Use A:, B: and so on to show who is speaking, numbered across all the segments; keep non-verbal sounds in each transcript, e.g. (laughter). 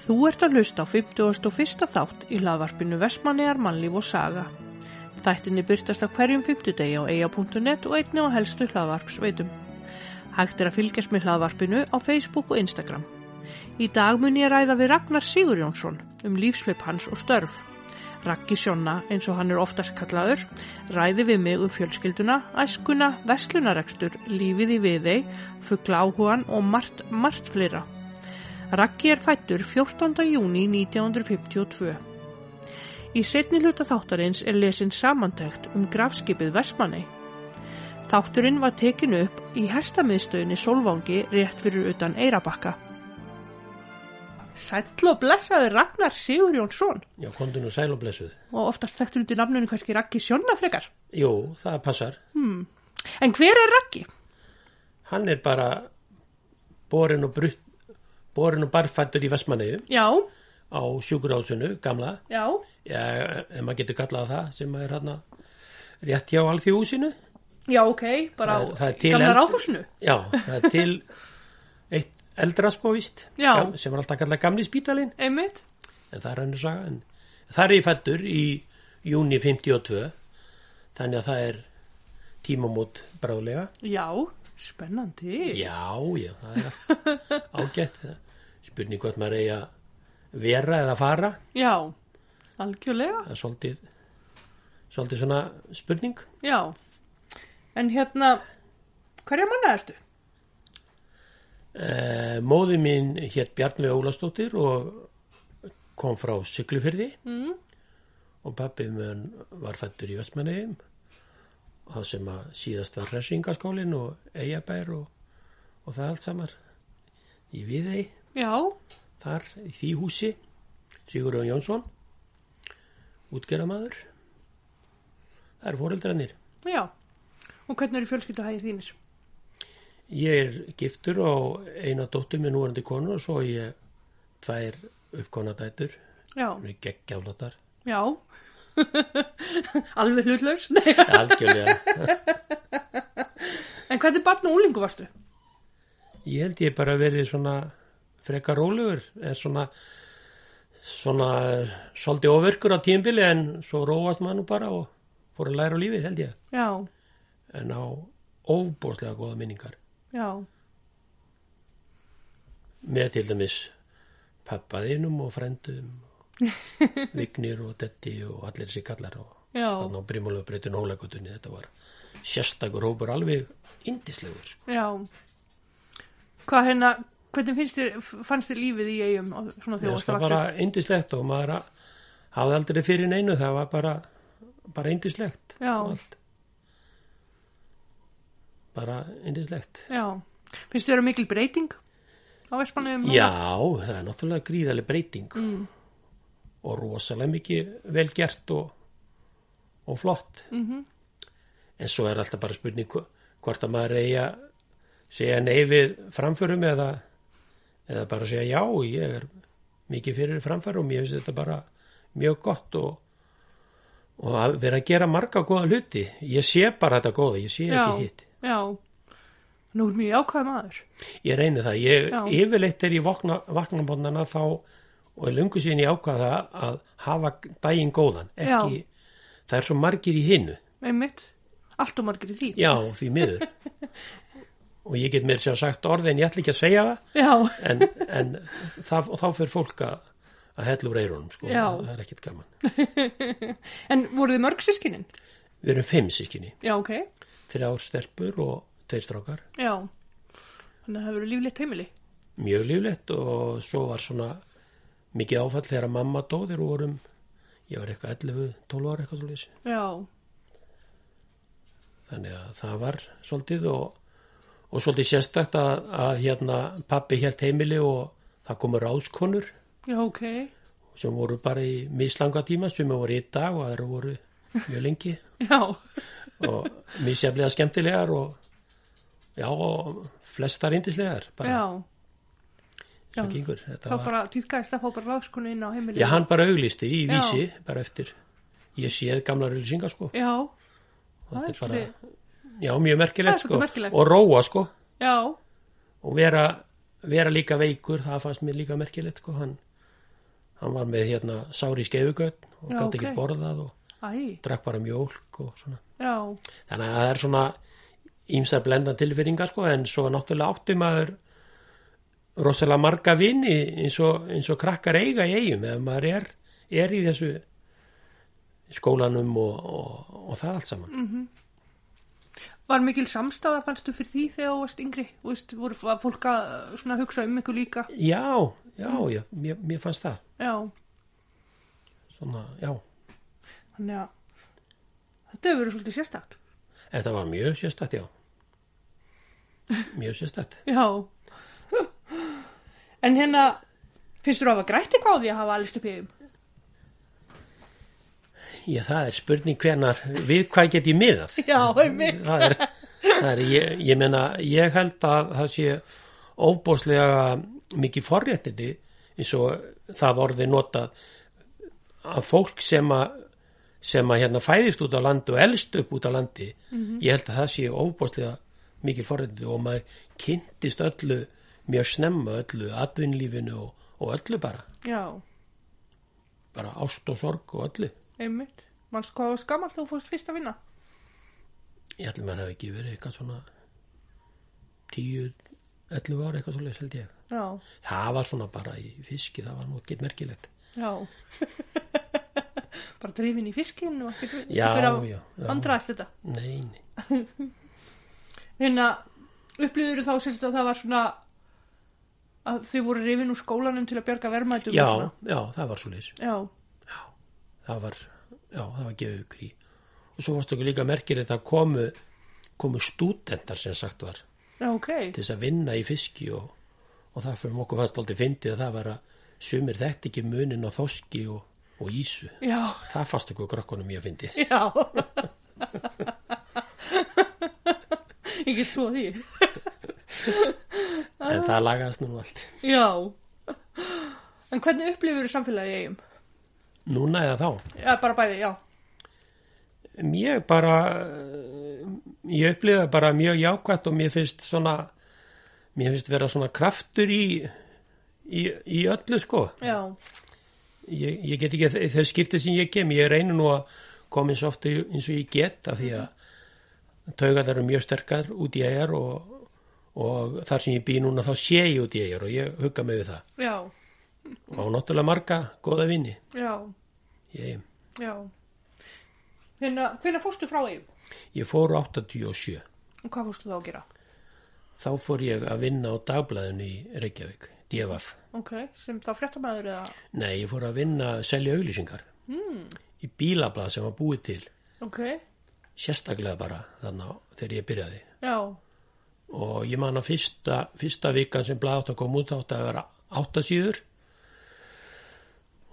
A: Þú ert að hlusta á 51. þátt í laðvarpinu Vestmannegar mannlíf og saga. Þættinni byrtast á hverjum 50 degi á eia.net og einni á helstu hlaðvarpsveitum. Hægt er að fylgjast með hlaðvarpinu á Facebook og Instagram. Í dag mun ég ræða við Ragnar Sigurjónsson um lífsleip hans og störf. Raggi Sjónna, eins og hann er oftast kallaður, ræði við mig um fjölskylduna, æskuna, vestlunarekstur, lífið í viðei, fuggla áhugan og margt, margt fleira. Raggi er fættur 14. júni 1952. Í setni hluta þáttarins er lesin samantækt um grafskipið Vestmanni. Þátturinn var tekin upp í hestamiðstöðinni Solvangi rétt fyrir utan Eirabakka. Sæll og blessaður Ragnar Sigurjónsson
B: Já, komdu nú sæl og blessuð.
A: og oftast þekktur undir nafnunum hverski Raggi Sjónafrekar.
B: Jú, það passar.
A: En hver er Raggi?
B: Hann er bara borin og brutt, borin og barfættur í Vestmanniðu
A: Já,
B: á sjúkurásinu, gamla,
A: já,
B: ja, ef maður getur kallað það sem er hann rétt hjá alþjóðhúsinu.
A: já ok, bara
B: Það- það er
A: í
B: til
A: gamla
B: eld-
A: ráðhúsinu.
B: Já, það er til eitt eldraspóvist
A: Já.
B: sem er alltaf kallað gamli spítalinn,
A: Einmitt,
B: en það er hann saga. En það er ég fættur í júni 52, þannig að það er tímamót bráðlega.
A: já, spennandi.
B: Já, já, það er allt ágætt. Spurning hvort maður eigi að vera eða fara,
A: Já, algjörlega,
B: það er svolítið, svolítið svona spurning.
A: já. En hérna, hverja manna ertu?
B: Eh, móði mín hétt Bjarnvei Ólastóttir og kom frá Siglufyrði
A: Mm.
B: og pappi minn var fættur í Vestmanneigum það sem að síðast var Hressingaskólin og Eyjabær og, og það allt samar í Viðey
A: Já,
B: þar í því húsi Sigurður Jónsson útgerðamaður það eru fóreldrarnir
A: já. Og hvernig eru fjölskylduhæðir þínir?
B: ég er giftur og eina dóttur með núverandi konu og svo ég tvær uppkona dætur
A: Já,
B: hún er geggjaflatar
A: já. (laughs) Alveg hlutlaus. (laughs) Nei.
B: algjörlega
A: en hvernig barn og úlingu varstu?
B: ég held ég bara verið svona frekar rólegur er svona svona svolítið ofirkur á tímbili en svo róast maður nú bara og fór að læra á lífið held ég
A: Já,
B: en á óbóðslega góða minningar
A: já,
B: með til dæmis pappaðinum og
A: (laughs)
B: frendum Vignir og Detti og allir sér kallar og
A: já,
B: þannig á Brímulega breytun hólagutunni þetta var sérstakur hópur alveg indislegur sko.
A: já. Hvað hérna, hvernig finnst þér, f- fannst þér lífið í eigum og svona
B: Mér
A: þegar
B: fannst
A: varstu
B: það
A: vaksin?
B: bara indislegt og maður að- hafði aldrei fyrir neinu það var bara, bara indislegt
A: Já.
B: allt bara indislegt
A: Já, finnst þér að mikil breyting á Vestmannum?
B: Já, það er náttúrulega gríðarlega breyting og rosalega mikið vel gert og, og flott. -hmm. En svo er alltaf bara spurning hvo- hvort að maður eigi að segja nei við framförum eða, eða bara segja já, ég er mikið fyrir framförum, ég finnst þetta bara mjög gott og, og að vera að gera marga góða hluti. Ég sé bara þetta góða, ég sé ekki hitt.
A: Já, nú er mjög ákvæð maður.
B: Ég reyni það, ég
A: Já.
B: yfirleitt er ég vakna, vaknabóndana þá og er löngu síðan ég ákvað það að hafa daginn góðan, ekki það er svo margir í hinnu,
A: einmitt, allt og margir í því
B: já því
A: (laughs)
B: miður og ég get mér sér sagt orðið en ég ætla ekki að segja það
A: já, (laughs)
B: en, en það, þá fer fólk að, að hella úr eyrunum sko,
A: Já.
B: það er ekkit gaman.
A: en voruð þið mörg sískinin?
B: Við erum fimm sískinni,
A: já, ok,
B: þrjár stelpur og tveir strákar,
A: já þannig að það hefur líflegt heimili
B: mjög líflegt og svo var svona mikið áfall þegar að mamma dó þegar við vorum ég var eitthvað 11, 12 ára eitthvað svolítið
A: já,
B: þannig að það var svolítið og, og svolítið sérstakt að, að hérna pappi hélt heimili og það komu ráðskonur
A: já, ok
B: sem voru bara í mislanga tíma sem voru í dag og aðra voru mjög lengi
A: já,
B: og misjaflega skemmtilegar og já, og flestar indislegar bara,
A: já,
B: sem gengur
A: þá
B: Þetta var,
A: bara týrkaðist að fá bara ráskonu inn á heimili
B: já, hann bara auglýsti í
A: Já.
B: vísi bara eftir, ég séð gamla auglýsingar sko,
A: já,
B: Og þetta er
A: það
B: bara
A: er
B: já, mjög
A: Það er
B: merkilegt sko,
A: svolítið merkilegt.
B: og róa sko
A: já,
B: og vera, vera líka veikur það fannst mér líka merkilegt sko. hann, hann var með hérna sári skefugaut og
A: Já,
B: gæti
A: ok.
B: ekki borðað og
A: Æ,
B: drakk bara mjólk og svona
A: já,
B: þannig að það er svona ímsar blenda tilfinningar sko en svo náttúrulega átti maður rosalega marga vini eins og, eins og krakkar eiga í eigum ef maður er, er í þessu skólanum og, og, og það allt
A: Mm.
B: saman
A: var mikil samstæða fannstu fyrir því þegar þú varst yngri Þú veist, voru var fólk að uh, svona hugsa um ykkur líka
B: já, já, já, mér, mér fannst það
A: já,
B: svona, já,
A: þannig að þetta hefur verið svolítið sérstakt
B: þetta var mjög sérstætt já mjög sérstætt
A: já en hérna finnst þú að hafa grætt eitthvað á því að hafa allist upp
B: (laughs)
A: í þeim
B: já, það er spurning hvenar við hvað get ég miðað
A: já, einmitt
B: það er, það er ég, ég meina, ég held að það sé ofbóðslega mikið forréttindi eins og það orði notað að fólk sem að sem að hérna fæðist út á landi og elst upp út á landi ég held að það sé ofbóðslega mikil forréttindi og maður kynntist öllu mjög snemma öllu, atvinnlífinu og, og öllu bara
A: já,
B: bara ást og sorg og öllu
A: einmitt mannstu hvað var skamall þú fórst fyrst að vinna
B: ég ætlum að það hafi ekki verið eitthvað svona 10, 11 ára eitthvað svoleiðis held ég
A: já,
B: það var svona bara í fiski það var nú ekki merkilegt (laughs)
A: já bara drifin í fiskinn og ekki
B: Já, já,
A: byrja
B: já.
A: að vandraðast þetta
B: nei, nei.
A: hérna upplýður þá sérst að það var svona að þau voru rifin úr skólanum til að bjarga vermaðum
B: Já, já, það var svoleiðis
A: já,
B: það var, já, það var gefið ykkur í og svo varst okkur líka merkilegt að komu komu stúdentar sem sagt var til
A: já, ok
B: þess að vinna í fiski og, og það fyrir okkur fannst aldrei fyndið að það var að sumir þetta ekki munin á þoski og, og ísu
A: já,
B: það fannst okkur krökkunum mjög fyndið
A: já (laughs) ég get trúa því
B: en það lagaðist nú allt
A: já en hvernig upplýður samfélagi í eigum?
B: núna eða þá
A: Já, bara bæði, já
B: Mér bara, eh, ég upplifa bara mjög jákvætt og mér finnst svona, mér finnst vera svona kraftur í, í, í öllu sko.
A: já,
B: Ég, ég get ekki, þau skiptið sem ég kem, ég reyni nú að koma eins ofta eins og ég get af því að taugar eru mjög sterkar út í eigar og, og þar sem ég býð núna þá sé ég út í eigar og ég hugga mig við það.
A: já,
B: Og á náttúrulega marga góða vini.
A: já,
B: Ég,
A: já hérna, hvenær fórstu frá eigum?
B: ég fór 87.
A: og hvað fórstu þá að gera?
B: Þá fór ég að vinna á dagblæðinu í Reykjavík, DFF.
A: ok, sem þá fréttamæður eða
B: Nei, ég fór að vinna að selja auglýsingar mm. í bílablað sem var búið til
A: ok,
B: sérstaklega bara þannig þegar ég byrjaði
A: já
B: og ég man að fyrsta, fyrsta vikan sem blað átt að koma út átt að vera áttasýður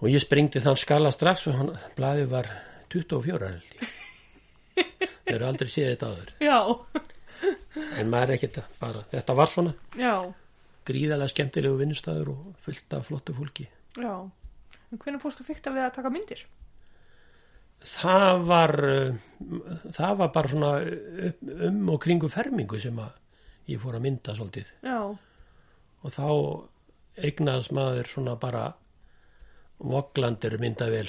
B: og ég sprengdi þann skala strax og hann, blaðið var 24 held ég Ég eru aldrei séð þetta áður
A: Já,
B: en maður er ekkert að bara þetta var svona
A: (laughs) já,
B: gríðalega skemmtilegu vinnustæður og fullt af flottu fólki
A: já. En hvernig fórstu fyrta við að taka myndir?
B: það var uh, það var bara svona upp, um og kringu fermingu sem að ég fór að mynda svolítið
A: Já,
B: og þá eignaðast maður svona bara voglandir myndavél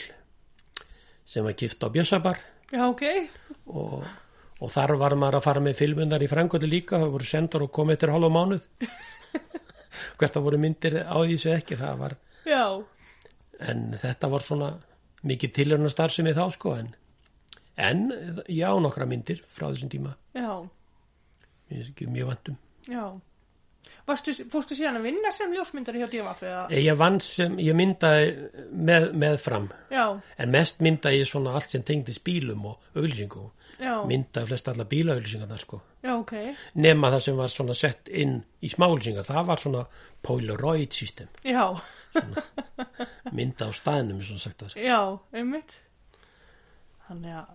B: sem var gift á Björsabar
A: já, ok.
B: og, og þar var maður að fara með filmundar í frangöldu líka, það voru sendar og komið eftir hálfa mánuð hvert að voru myndir á því sem ekki það var
A: Já,
B: en þetta var svona mikið tilhörna starfsemi þá sko en, en ég á nokkra myndir frá þessum tíma
A: já,
B: mér er ekki mjög um. vantum
A: já. Varstu, fórstu síðan að vinna sem ljósmyndari hjá DFF eða?
B: ég vann sem, ég myndaði með, með fram
A: Já,
B: en mest myndaði ég svona allt sem tengdist bílum og auglýsingu
A: já,
B: myndaði flest alla bílaauglýsingarnar sko
A: já, ok.
B: nema það sem var svona sett inn í smáauglýsingar, það var svona Polaroid system,
A: Já,
B: mynda á staðnum svona sagt það sko.
A: já, einmitt. Þannig að,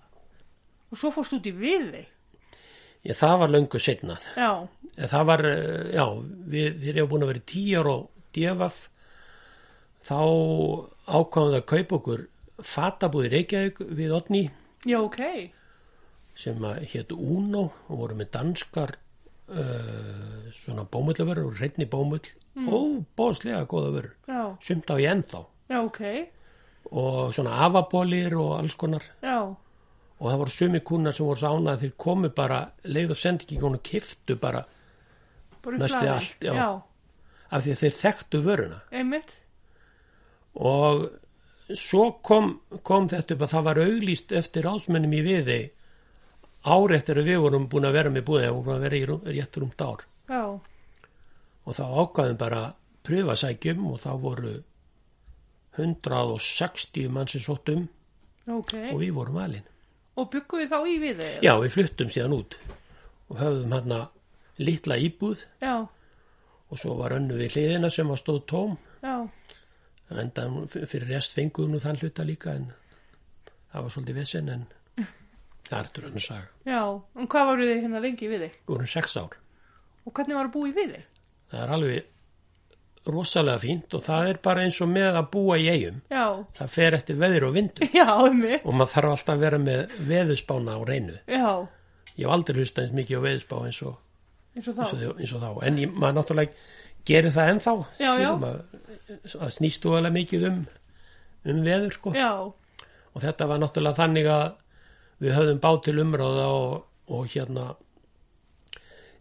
A: og svo fórstu út í við þig.
B: ég, það var löngu setnað
A: Já,
B: En það var, eh, já, við, þegar ég var búin að vera tíu ára og djöfaf, þá ákváðum við að kaupa okkur fatabúði Reykjavík við Otni
A: já, ok.
B: sem að hétt Uno og voru með danskar uh, svona bómullaförur og reynni bómull, mm. óbóðslega góða vörur.
A: Já,
B: Sumt á ég ennþá.
A: já, ok,
B: og svona afabólir og alls konar
A: já,
B: og það voru sumi kúnar sem voru sánað þeir komu bara leið og sendi ekki konu kiftu bara
A: bara
B: Næstu
A: hlaðið.
B: allt, já.
A: já,
B: af því að þeir þekktu vöruna
A: einmitt,
B: og svo kom, kom þetta upp að það var auglýst eftir ráðsmönnum í viði ár eftir að við vorum búin að vera með búið og vorum að vera í rú- rétt rúmt ár
A: já,
B: og þá ákvaðum bara pröfasækjum og þá voru 160 mann sem sóttum
A: ok,
B: og við vorum valin
A: og byggum við þá í við þeir,
B: já, við fluttum síðan út og höfðum hann litla íbúð
A: já,
B: og svo var önnu við hliðina sem var stóð tóm
A: já,
B: en enda hún- f- fyrir rest fenguðu nú þann hluta líka en það var svolítið vesen
A: (laughs)
B: en það er þetta hann saga
A: já, en hvað varuð þið hérna lengi við þeir,
B: við vorum sex ár
A: og hvernig var að búa í við þeir,
B: það er alveg rosalega fínt og það er bara eins og með að búa í eigum
A: já, (laughs)
B: það fer eftir veður og vindu
A: já, einmitt,
B: og maður þarf alltaf að vera með veðurspána á reynu
A: já,
B: ég hef aldrei hlusta eins mikið á veðurspá eins og,
A: eins og
B: eins
A: þá,
B: og, eins og þá en ég, maður náttúrulega gerir það ennþá
A: Já, já.
B: Skilur, maður- það snýst þú alveg mikið um um veður sko
A: já,
B: og þetta var náttúrulega þannig að við höfðum bát til umráða og, og hérna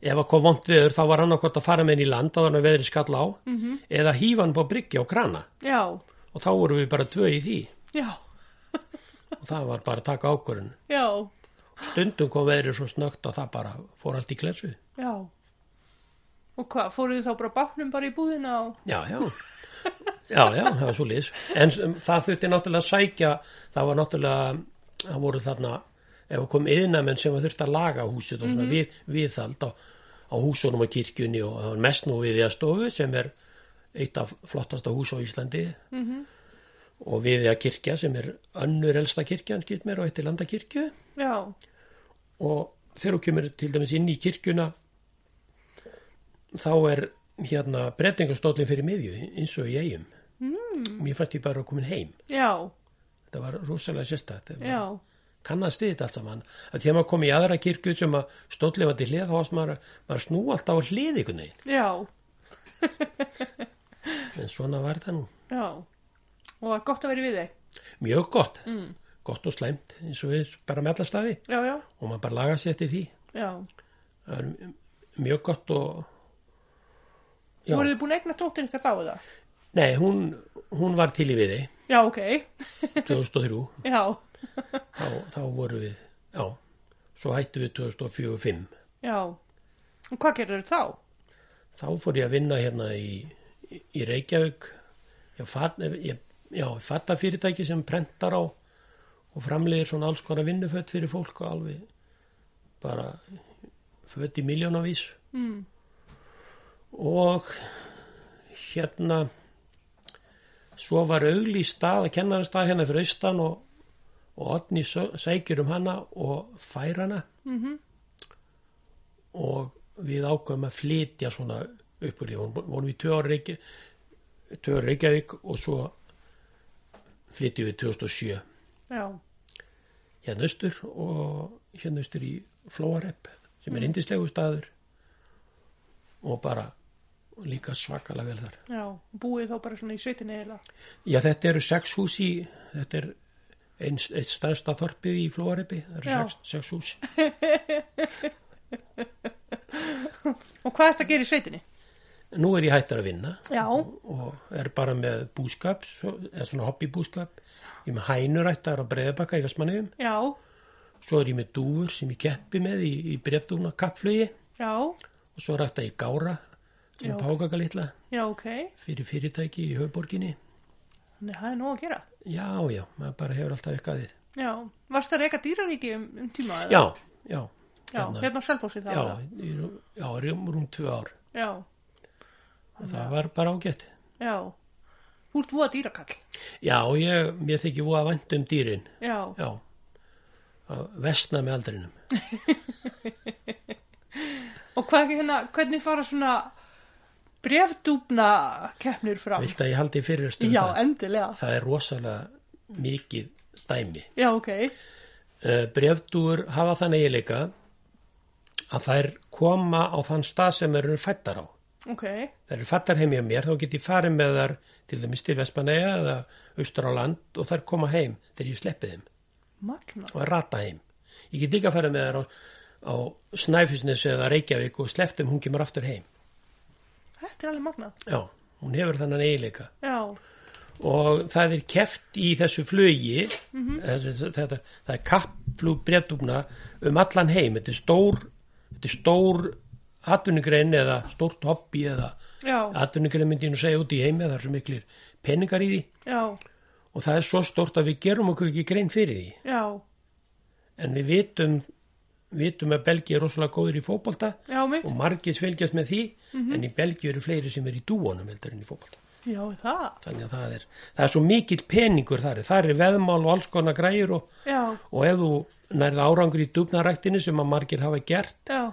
B: ef að kom vond viður þá var hann okkur að fara með henni í land að hann að veðri skall á -hmm. eða hýfa hann på bryggja og krana
A: já,
B: og þá vorum við bara tvö í því
A: já,
B: og það var bara að taka ákvörðun
A: já,
B: stundum kom veðrið svo snöggt og það bara fór allt í klessu
A: já, og hvað, fóruð þið þá bara bátnum bara í búðina og,
B: já, já já, já, það var svo liðs en um, það þurfti náttúrulega að sækja það var náttúrulega, það voru þarna ef það kom yðnamenn sem þurfti að laga húsið og svona við, viðhald á, á húsunum og kirkjunni og það var mest nú við í að stofu sem er eitt af flottasta hús á Íslandi og við í að kirkja sem er önnur elsta kirkjan skilt mér og eitt í landakirkju
A: já,
B: og þegar þú kemur til dæmis inn í kirkjuna þá er hérna breytingastólinn fyrir miðju eins og í eigum mm. mér fannst ég bara að komin heim
A: já,
B: þetta var rosalega sérstætt
A: já,
B: kannast þið þetta allt saman að þegar maður kom í aðra kirkju sem að stóllið var til hlið þá varst maður, maður snú alltaf á hlið einhvern veginn
A: já,
B: en svona var það nú
A: já, og það er gott að vera í við þeir,
B: mjög gott mm. gott og slæmt eins og við bara með alla staði
A: já, já,
B: og maður bara laga sér eftir því
A: já,
B: það er mjög gott og Já.
A: voruð þið búin að eigna tóttir ykkar þá eða,
B: nei, hún, hún var til í (laughs) viði
A: já, ok,
B: 2003
A: já,
B: þá, þá voru við, já, svo hættu við 2045.
A: já, og hvað gerir þau þá?
B: Þá fór ég að vinna hérna í, í- í Reykjavík, ég, fat, ég, já, fatta fyrirtæki sem prentar á og framlegir svona alls konar vinnufött fyrir fólk og alveg bara fött í miljónavís. Mm. Og hérna, svo var auglýst stað að kenna stað hérna fyrir austan og, og Otni sækjur um hana og fær hana og við ákveðum að flytja svona upp úr því, Von- vorum við tvö ára Reykja, tvö ára Reykjavík og svo flytjum við 2007
A: Já,
B: hérna austur og hérna austur í Flóarepp sem er indislegu staður og bara líka svakalega vel þar.
A: já, búið þá bara svona í sveitinni eða
B: Já, þetta eru sex hús í, þetta er eins, eins stærsta þorpið í Flóareppi, það eru
A: Já.
B: sex, sex hús.
A: Og hvað er þetta að gera í sveitinni?
B: Nú er ég hættur að vinna
A: Já,
B: og er bara með búskap, svo- eða svona hobbybúskap. Ég er með hænurættar á breiðabakka í Vestmanniðum.
A: já,
B: Svo er ég með dúfur sem ég keppi með í, í brefdúna kappflögi
A: já,
B: og svo rætta ég gára,
A: Já.
B: svona pákaka litla,
A: já, ok
B: fyrir fyrirtæki í höfborginni.
A: Nei, það er nóg að gera
B: Já, já, maður bara hefur alltaf eitthvað þið.
A: Já, varstu að reyka dýraríki um, um tíma eða?
B: Já, já,
A: já hérna á Selfossi þá
B: já,
A: eða?
B: í rú- já, rúm, rúm tvö ár.
A: já,
B: Og það var bara ágætt.
A: já Þú ert voða dýrakall
B: Já, ég, mér þykir voða vænt um dýrin,
A: Já,
B: já. Að vestna með aldrinum.
A: og hvað, hérna, hvernig fara svona brefdúbna keppnir fram?
B: Vilt að ég haldi fyrir stund
A: Já,
B: það?
A: endilega
B: Það er rosalega mikið dæmi.
A: Já, ok,
B: Eh, Bréfdúfur hafa þann eiginleika að þær koma á þann stað sem þær eru fættar á.
A: ok,
B: Það eru fattar heim hjá mér, þá get ég farið með þar til dæmis til Vestmanneja eða austur á land og þær koma heim þegar ég sleppi þeim
A: magna
B: og rata heim. Ég get líka farið með þær á, á Snæfisnes eða Reykjavík og slepptum hún kemur aftur heim.
A: þetta er alveg magna
B: Já, hún hefur þannan eiginleika.
A: já,
B: og það er keft í þessu flugi þessu, þetta, það er kappflug breytugna um allan heim þetta er stór, þetta er stór atvinnugrein eða stórt hobby eða
A: já,
B: atvinnugrein myndi ég nú segja út í heimi það er svo miklir peningar í því
A: já,
B: og það er svo stórt að við gerum okkur ekki grein fyrir því
A: já
B: en við vitum, vitum að Belgi er rosalega góður í fótbolta
A: já, mitt,
B: og margir fylgjast með því en í Belgi eru fleiri sem er í dúonum heldur en í fótbolta
A: já, það
B: þannig að það er, það er svo mikill peningur þar, þar er veðmál og alls konar græjur og,
A: já,
B: og ef þú nærða árangur í dubnaræktinu sem að margir hafa gert,
A: já,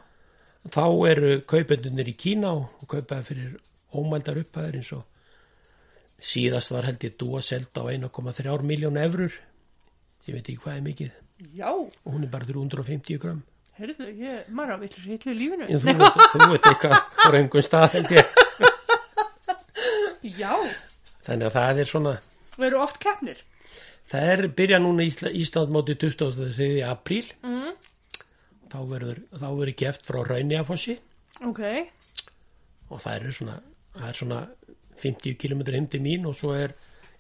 B: þá eru kaupendunir í Kína og, og kaupaði fyrir ómældar upphæður eins og síðast var held ég dúa seld á 1,3 miljónu evrur ég veit ekki hvað er mikið
A: já
B: og hún er bara 350 gram
A: heyrðu, ég, maður að vilja sér í lífinu
B: en þú veit, þú veit eitthvað á rengum stað held ég
A: já,
B: þannig að það er svona
A: við eru oft keppnir
B: Það er byrja núna Ísla, Ísland móti 23. apríl mm. þá verður þá verður geft frá Raunjafossi
A: ok,
B: og það eru svona, það er svona 50 km heim til mín og svo er,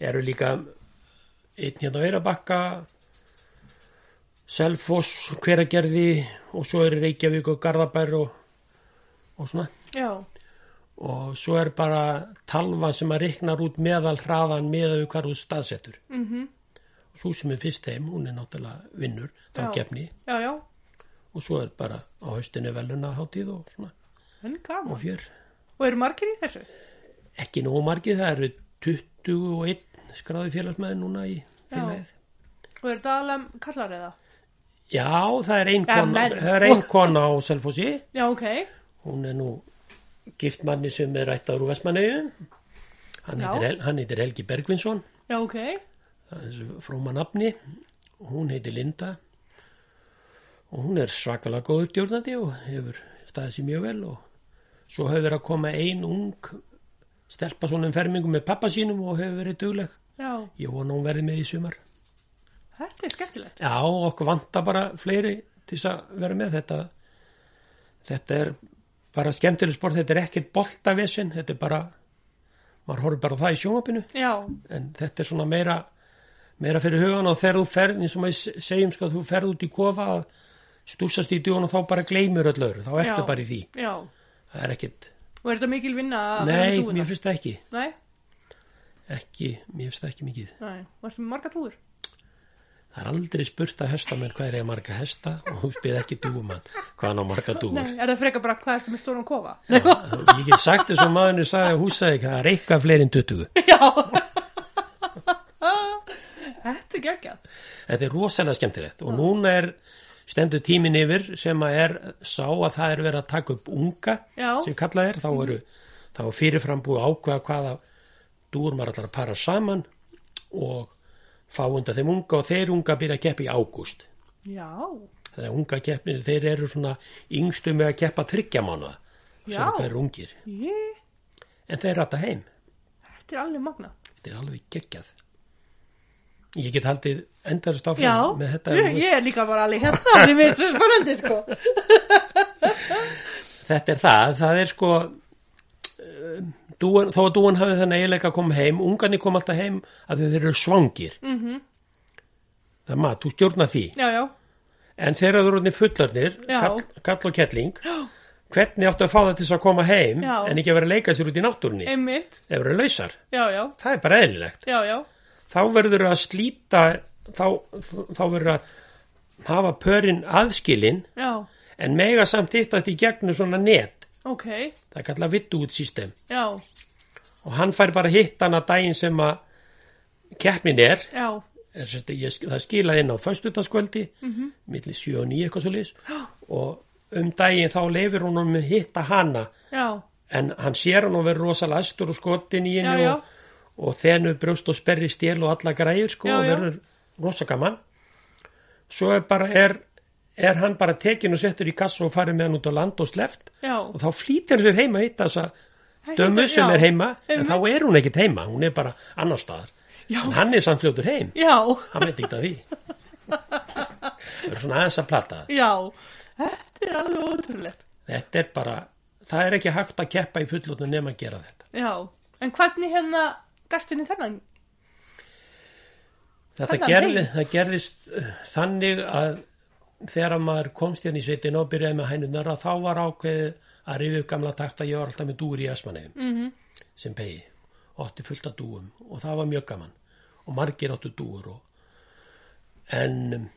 B: eru líka einn hérna á Eyrabakka Selfoss, Hveragerði og svo eru Reykjavík og Garðabær og, og svona
A: já,
B: og svo er bara talvan sem að reiknar út meðal hraðan meðal við hvar þú staðsetur mm
A: Mhm.
B: -hmm. svo sem er fyrst heim, hún er náttúrulega vinnur þá
A: Já.
B: gefni
A: já, já
B: og svo er bara á haustinu veluna hátíð og svona
A: en
B: og
A: gaman,
B: fjör,
A: og eru margir í þessu
B: ekki nógu margið það eru 21 skráði félagsmaður núna í félagið
A: og eru það alveg kallar eða
B: Já, það er ein
A: Ja,
B: kona,
A: menn.
B: það er ein kona á Selfossi
A: já, ok,
B: hún er nú gift manni sem er ættar úr Vestmanneigum hann,
A: Já.
B: heitir Hel- hann heitir Helgi Bergvinsson
A: já, ok
B: það er þessu fróma nafni hún heitir Linda og hún er svakalega góður stjórnandi og hefur staðið sér mjög vel og svo hefur verið að koma ein ung stelpa svona um fermingu með pappa sínum og hefur verið dugleg
A: já,
B: ég vona hún verði með í sumar
A: þetta er skemmtilegt
B: já, okkur vanta bara fleiri til þess að vera með þetta þetta er bara skemmtileg sport, þetta er ekkert boltavesen þetta er bara maður horfir bara á það í sjónvapinu
A: já,
B: en þetta er svona meira meira fyrir hugan og þegar þú ferð eins og maður s- segjum sko þú ferð út í kofa að stúsast í djúan og þá bara gleymur öll öðru, þá ertu
A: Já.
B: bara í því
A: já
B: það er ekkit,
A: og er þetta mikil vinna að vera
B: nei,
A: dúfurnar?
B: mér finnst það ekki
A: nei,
B: ekki, mér finnst það ekki mikið
A: nei, og ertu með margar túður
B: það er aldrei spurt að hestamenn hvað er ég marga hesta og þú spyrir ekki dúumann hvað hann á marga dúur
A: nei, er það freka bara hvað ertu með stóran
B: (laughs)
A: kofa
B: Já, ég get sagt þess að maðurinn sagði að húsaði það er eitthvað fleiri en 20
A: já (laughs) þetta er geggjað
B: Þetta er rosalega skemmtilegt og núna er stendur tímin yfir sem að er sá að það er verið að taka upp unga
A: Já. Mhm.
B: sem kallað er, þá eru þá er fyrirfram búið að ákveða hvaða dúr maður allar að para saman og fá undan þeim unga og þeir unga byrja að keppa í ágúst
A: já,
B: þannig að unga keppnir, þeir eru svona yngstu með að keppa þryggja mánuða sem
A: Já.
B: hvað eru ungir,
A: ég
B: en þeir rata heim
A: Þetta er alveg magna.
B: þetta er alveg geggjað ég get haldið endarist áfram
A: Já,
B: með þetta
A: ég, ég er líka bara alveg hérna, því mér finnst þetta spennandi, sko.
B: þetta er það, það er sko eh, dúan, þó að dúan hafi þannig eiginlega að koma heim, ungarnir kom alltaf heim að þeir eru svangir -hmm.
A: Mhm.
B: það er maður, þú stjórnar því
A: Já, já,
B: en þegar þú eru fullarnir
A: Já.
B: kall, kall og kettling hvernig áttu að fá það til þess að koma heim
A: Já.
B: en ekki að vera að leika sér út í náttúrunni
A: einmitt,
B: þeir eru lausar,
A: já, já,
B: það er bara eðlilegt
A: já, já,
B: þá verður að slíta þá, þá verður að hafa pörin aðskilin
A: já,
B: en mega samt hittast í gegnum svona net
A: ok,
B: það er kallað vittu út system
A: já,
B: og hann fær bara hitt hann að daginn sem að keppnin er
A: já,
B: Er sem sagt, ég, það skilaði inn á föstudagskvöldi
A: Mhm.
B: milli 7 og 9 eitthvað svo
A: (gasps)
B: liðs og um daginn þá leifir hún um hitta hana
A: já,
B: en hann sér hann og verður rosalega æstur og skotin í henni
A: Já, já.
B: og, og þenu brjóst og sperri stél og alla græjur sko
A: Já,
B: og
A: já.
B: verður rosagaman svo er bara er, er hann bara tekin og settur í kassa og farið með hann út á land og sleft
A: já,
B: og þá flýtir hann sér heima að hitta þessa dömmu sem
A: já,
B: er heima en
A: einmitt.
B: þá er hún ekkit heima, hún er bara annar staðar
A: Já.
B: en hann er samt fljótur heim
A: Já,
B: hann veit ekki að því það er svona aðeins að plata
A: já, þetta er alveg ótrúlegt.
B: þetta er bara, það er ekki hægt að keppa í fullotnu nema að gera þetta
A: Já, en hvernig hérna gastinni þennan?
B: þetta
A: Þennan
B: gerði,
A: heim.
B: það gerðist uh, þannig að þegar að maður komst hérna í sveitin og byrjaði með hænunar að þá var ákveðið að rifja upp gamla takta ég var alltaf með dúr í Esmanegum
A: Mhm.
B: sem pegi og átti fullt af dúum og það var mjög gaman og margir áttu dúur og... en um,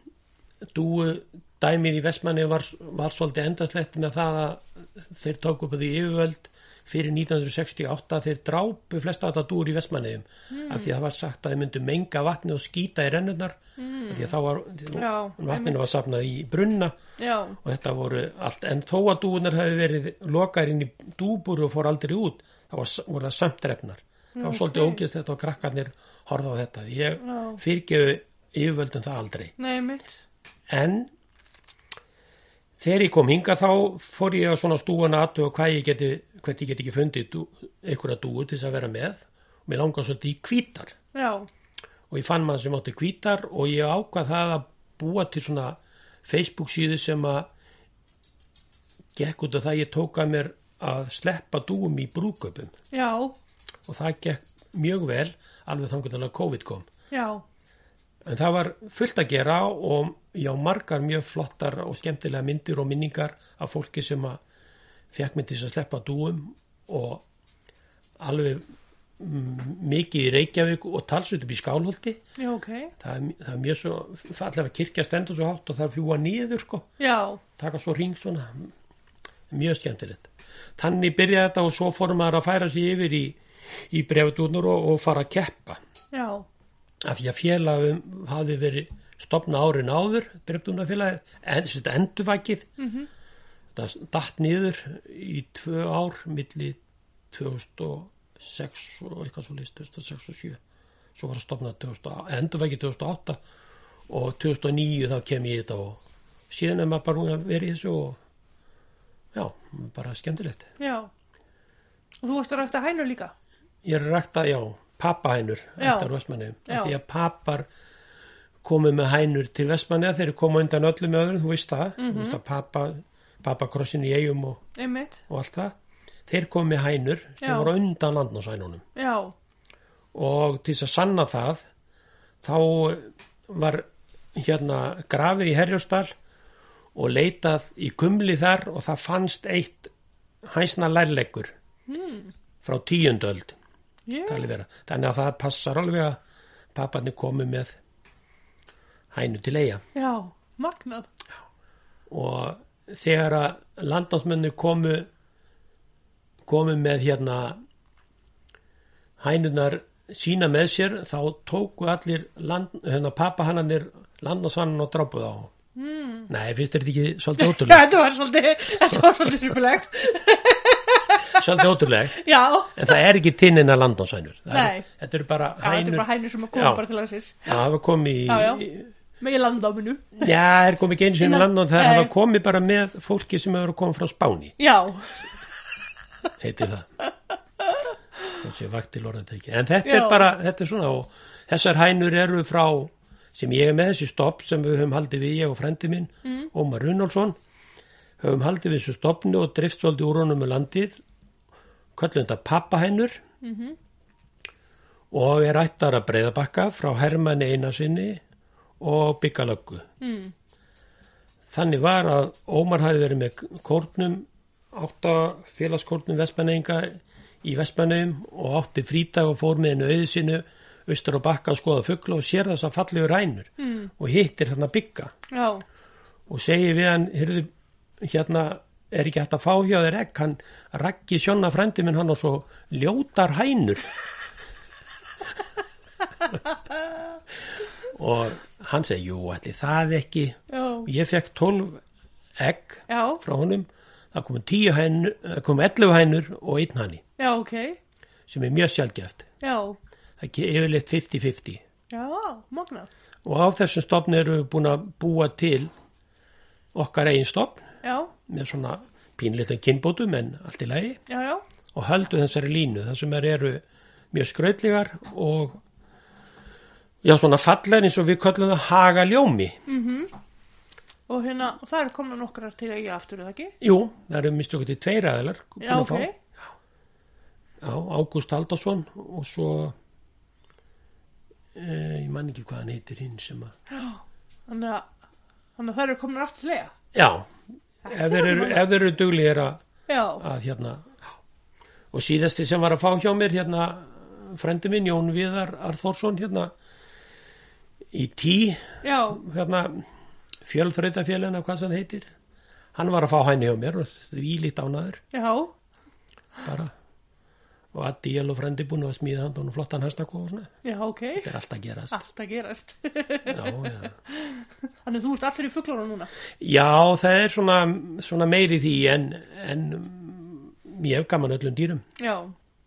B: dúu dæmið í Vestmanni var, var svolítið endaslegt með það að þeir tóku upp á því yfirvöld fyrir 1968 þeir drápu flesta þetta dúur í Vestmanniðum
A: Hmm.
B: af því að það var sagt að þeir myndu menga vatni og skýta í rennunar af því að þá var
A: Hmm. Já,
B: vatninu var safnað í brunna
A: Já,
B: og þetta voru allt en þó að dúunar hefði verið lokaðir inn í dúbúru og fór aldrei út þá var, voru það samt drefnar það var svolítið ógist þetta og krakkarnir horfa á þetta ég
A: Já.
B: fyrirgefu yfirvöldum það aldrei
A: nei mitt.
B: en þegar ég kom hinga þá fór ég á svona stúan aðtöð og hvað ég geti hvernig ég geti ekki fundið dú, einhverja dúu til þess að vera með og mér langar svolítið í hvítar
A: Já,
B: og ég fann mann sem átti hvítar og ég ákvað það að búa til svona Facebook síðu sem að gekk út af það ég tók að mér að sleppa dúum í brúköpum
A: já,
B: og það gekk mjög vel alveg þangur þannig að COVID kom
A: já,
B: en það var fullt að gera og já margar mjög flottar og skemmtilega myndir og minningar af fólki sem að fekk mig til þess að sleppa dúum og alveg mm, mikið í Reykjavík og talsveit upp í Skálholti
A: já, ok.
B: það er, það er mjög svo fallega að kirkja stendur svo hátt og það er fljúa nýður sko,
A: Já,
B: taka svo ring svona mjög skemmtilegt þannig byrjaði þetta og svo fórum maður að færa sig yfir í, í brefdúnur og, og fara að keppa
A: já,
B: af því að félagum hafi verið stopna árin áður brefdúnafélagi, en, þetta endurvækið mm -hmm. það datt nýður í tvö ár milli 2006 og eitthvað svo list 2006 og 7 svo var það stopnað 2000 endurvækið 2008 og 2009 þá kem ég í þetta og síðan er maður bara búin að vera í þessu og já, bara skemmtilegt
A: já. Og þú varst að ræfta hænu líka?
B: Ég er að rækta, já, pappahænur
A: Já.
B: ættar Vestmannið,
A: Já.
B: af því að pappar komu með hænur til Vestmannið þeir koma undan öllum öðrum, þú veist það þú
A: Mhm.
B: veist að pappa, pappakrossin í eigum og,
A: Nei mitt.
B: og allt það þeir komu með hænur sem
A: Já.
B: voru undan landnásænunum
A: Já,
B: og til þess að sanna það þá var hérna grafið í Herjóstal og leitað í kumli þar og það fannst eitt hæsna lærleggur hmm. frá tíundöld
A: ég,
B: talið vera. Þannig að það passar alveg að papparnir komi með hænu til eiga
A: já, magnað.
B: og þegar að landnámsmennir komu komu með hérna hænunar sína með sér þá tóku allir land, hérna, pappahannanir landnámsvannan og drápuð á
A: Hmm.
B: mm. Nei, fyrst er þetta ekki svolítið
A: Já, (laughs)
B: ótrúleg
A: þetta var svolítið, þetta var svolítið supulegt.
B: svolítið ótrúleg
A: Já,
B: en það er ekki tinnina landnámsvænur
A: Nei.
B: Þetta eru bara
A: já, þetta er
B: hænur
A: bara hænur sem að koma
B: Já.
A: bara til að sér.
B: Já, það var komið í,
A: Já, já. Með ég landa á minu.
B: Já, er komið ekki einu sinni um
A: Innan-
B: land og það er
A: Nei.
B: að komið bara með fólki sem hefur komið frá Spáni,
A: Já,
B: heitir það. Þessi vaktil orðið ekki. En þetta
A: Já.
B: er bara, þetta er svona og þessar hænur eru frá sem ég er með þessi stopp sem við höfum haldið við ég og frendi minn,
A: Mm.
B: Ómar Runálsson höfum haldið við þessu stoppni og drift svolítið úr honum með landið kallum þetta pappahænur
A: Mhm.
B: og er ættar að breyðabakka frá Hermanni Einarsinni og Byggalöggu.
A: mm.
B: Þannig var að Ómar hafi verið með kórnum, átta félagskórnum vestmenneinga í vestmenneum og átti frítag og fór með hennu auðu sínu austur á bakka að skoða fugla og sér þess að fallegu rænur mm. og hittir þarna bygga
A: já,
B: og segir við hann, heyrðu, hérna er ekki hægt að fá hjá þér ekk, hann rakki sjóna frendi minn hann og svo ljótar hænur. og hann segi, jú, ætli það ekki,
A: já,
B: Ég fekk 12 egg
A: já,
B: frá honum, það komu 10 hænur, það komu 11 hænur og einn hanni
A: já, ok,
B: sem er mjög sjálfgeft.
A: já,
B: Það er ekki yfirleitt 50-50
A: já, magnað.
B: og á þessum stofn eru við búin að búa til okkar eigin stofn
A: Já,
B: með svona pínleitum kynbótum en allt í lagi
A: já, já,
B: og höldu þessari línu þar sem þær eru mjög skrautlegar og já svona fallegar eins og við köllum það hagaljómi
A: Og hérna, það er komin nokkrar til eiga aftur, eða ekki?
B: Jú, það eru minnst okkur til tveir aðilar búin
A: Já,
B: að
A: ok.
B: fá. Já, Ágúst Haldarsson og svo eh, ég man ekki hvað hann heitir hinn sem að
A: Þannig að, þannig að það eru komin aftur til eiga.
B: Já, ef þeir eru, ef þeir eru duglegir að,
A: Já,
B: að hérna já. og síðasti sem var að fá hjá mér hérna frendi minn Jón Viðar Arþórsson hérna í tí
A: já,
B: hérna fjölþrautafélina hvað sem það heitir hann var að fá hæni hjá mér og því lít ánaður
A: já,
B: bara og Addi Jél og frendi búin að smíða hann og flottan hestakó og svona
A: já, ok.
B: þetta er allt að
A: (laughs)
B: gerast
A: Allt að gerast.
B: já, já.
A: Þannig að þú ert allir í fuglóra núna.
B: já, það er svona, svona meiri því en, en mm, ég hef gaman öllum dýrum
A: Já.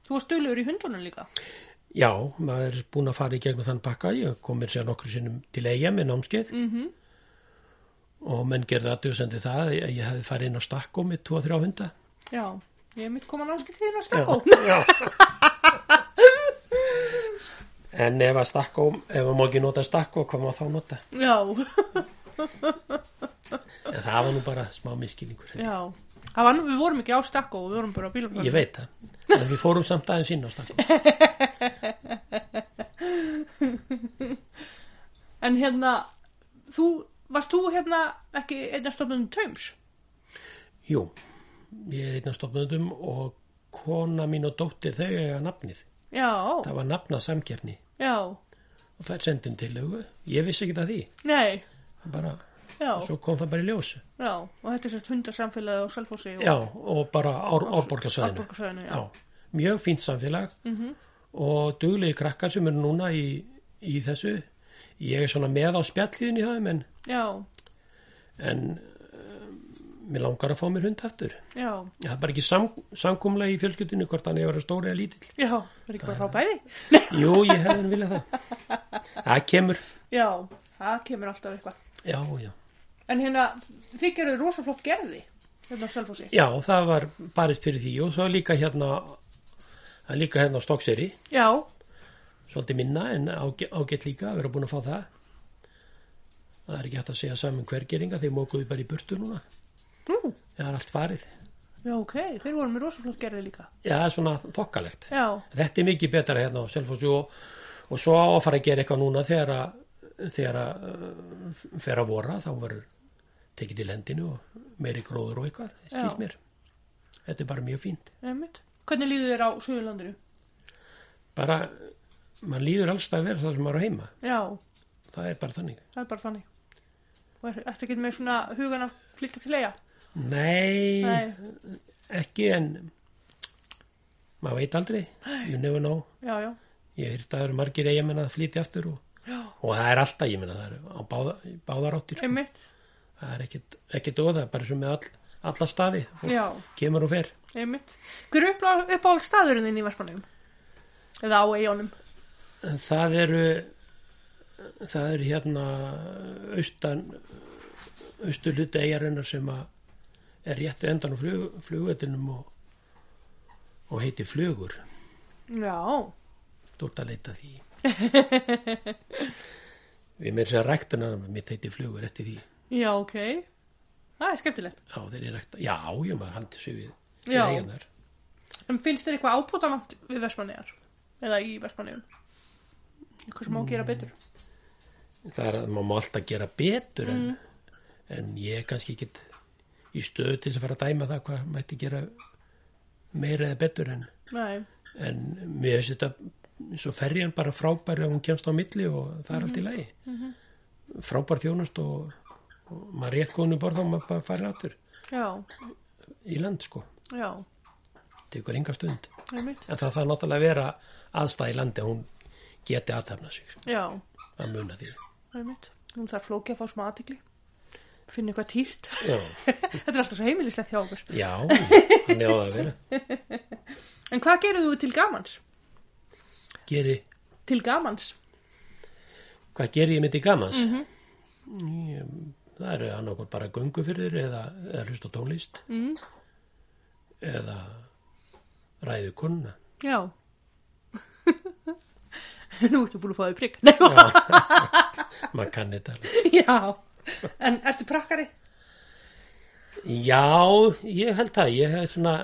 A: Þú varst duglegur í hundunum líka.
B: Já, maður er búin að fara í gegnum þann pakka, ég kom mér sér nokkru sinnum til eiga með námskeið -hmm. og menn gerði aðdjóðsendi það, ég, ég hefði farið inn á stakko með 2-3 hunda.
A: Já. Ég er mitt koma námskið til þín að
B: Já,
A: stakko.
B: já. en ef að stakko, ef maður má ekki nota stakko, hvað má þá nota?
A: (laughs) Já,
B: En það var nú bara smá miskilningur.
A: já. Það var nú, við vorum ekki á stakko og við vorum bara á bílum.
B: Ég veit það, en við fórum samt aðeins inn á stakko.
A: En hérna, þú, varst þú hérna ekki einnig stofnum taums?
B: Jú, ég er einn af stofnöndum og kona mín og dóttir þau eiga nafnið.
A: Já,
B: Það var nafna samkeppni.
A: já,
B: og þær sendum tillögu ég vissi ekki að því
A: nei,
B: bara,
A: já,
B: svo kom það bara í ljós
A: já. Og þetta er sérst hundasamfélagi og selfósi og
B: já, og bara ár, árborgarsöðinu
A: árborgarsöðinu, já. Mhm.
B: já, mjög fínt samfélag -hmm. og duglegi krakkar sem eru núna í, í þessu ég er svona með á spjalliðin í það en,
A: Já,
B: en um, mér langar að fá mér hund aftur
A: já,
B: það er bara ekki sam, samkumlega í fjölskyldinu hvort hann hefur að stóra eða lítill
A: já, það er ekki bara frá bæði.
B: jú, ég hefði hann viljað það það kemur,
A: (laughs) Já, það kemur alltaf eitthvað.
B: já, já
A: En hérna, þið gerðu rosa flott gerði hérna á Selfossi.
B: Já, það var barist fyrir því og svo líka hérna það er líka hérna á Stokkseri
A: Já,
B: svolítið minna en ágæ- ágætt líka að vera búin að fá það það er ekki hægt að segja saman hvergeringa þeir mókuðu bara í burtu núna
A: nú,
B: það er allt farið
A: já, ok, þeir voru með rosa flott gerði líka.
B: Já, það er svona þokkalegt
A: Já,
B: þetta er mikið betra hérna á Selfossi og, og svo á að fara að gera eitthvað núna þegar að þegar að uh, fer að vora þá verður tekið til hendinu og meiri gróður og eitthvað
A: Já.
B: skýrt mér þetta er bara mjög fínt
A: einmitt. Hvernig líður þér á Suðurlandinu?
B: bara mann líður allstað verð þar sem maður er heima
A: Já,
B: það er bara þannig
A: það er bara þannig. Og er, ertu ekki með svona hugan að flytta til eiga?
B: nei,
A: Nei,
B: ekki en maður veit aldrei you never know
A: já, já,
B: ég heyrt að það eru margir eigamenn að flytja aftur og,
A: Já.
B: og það er alltaf ég menna það eru á báða, báðaráttir sko.
A: einmitt,
B: það er ekkit, ekkit óða bara sem með all, alla staði og
A: já,
B: kemur og fer
A: einmitt. Hver er uppáhald staðurinn þinn í Vestmanningum? Eða á eigunum?
B: það eru það eru hérna austan austur hluti eigarinnar sem að er rétt við endan á flug, flugvetinum og, og heiti flugur
A: Já,
B: þú ert að leita að því við meira sér ræktunar mitt heiti flugur eftir því
A: já, ok. Það er skemmtilegt.
B: já, þeir eru rækta, já, ég maður haldi sér við við
A: Já.
B: eigarnar
A: En finnst þér eitthvað ábúðanant við Vestmannegar? Eða í Vestmannegun? Eitthvað sem má gera betur?
B: það er að maður má alltaf gera betur en, en ég er kannski ekkit í stöðu til þess að fara að dæma það hvað mætti gera meira eða betur en,
A: Nei,
B: en mér finnst þetta svo ferjan bara frábær ef hún kemst á milli og það er allt í lagi frábær þjónust og, og maður er rétt góðinu borð og maður bara farið aftur
A: já,
B: í land sko,
A: já,
B: tekur enga stund
A: einmitt,
B: en það þarf náttúrulega að vera aðstæð í landi að hún geti aðtefna sig sko,
A: já,
B: að muna því
A: einmitt. Nú þarf flóki að fá smá aðtikli. Finn eitthvað tíst. (laughs)
B: já,
A: Þetta er alltaf svo heimilislegt hjá okkur.
B: já þannig á það að vera
A: En hvað gerir þú til gamans?
B: Geri
A: Til gamans?
B: hvað ger ég myndi gamans mm það eru annarkot bara göngu fyrir eða, eða hlusta á tónlist mm. eða ræðu kunna
A: Já. (laughs) Nú ertu búin að fá því prigg. Nei,
B: maður kann þetta alveg
A: (laughs) já. En ertu prakkari?
B: Já, ég held það. Ég, hef svona,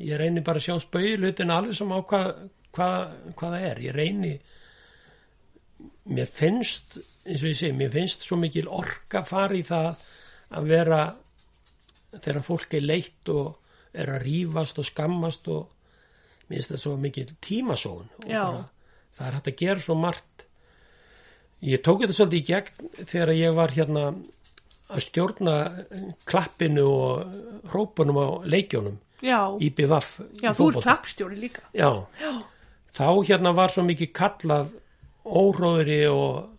B: ég reyni bara að sjá spauðlutin alveg sem á hvað hva, hva það er. Ég reyni, mér finnst, eins og ég segi, mér finnst svo mikil orka fara í það að vera, þegar fólk er leitt og er að rífast og skammast og mér finnst það svo mikil tímasón. Og
A: Já.
B: það er hægt að gera svo margt. Ég tók þetta svolítið í gegn þegar ég var hérna að stjórna klappinu og hrópunum á leikjónum
A: Já.
B: í BVF
A: já, þú ert klappstjóri líka.
B: Já,
A: Já.
B: þá hérna var svo mikið kallað óróðri og,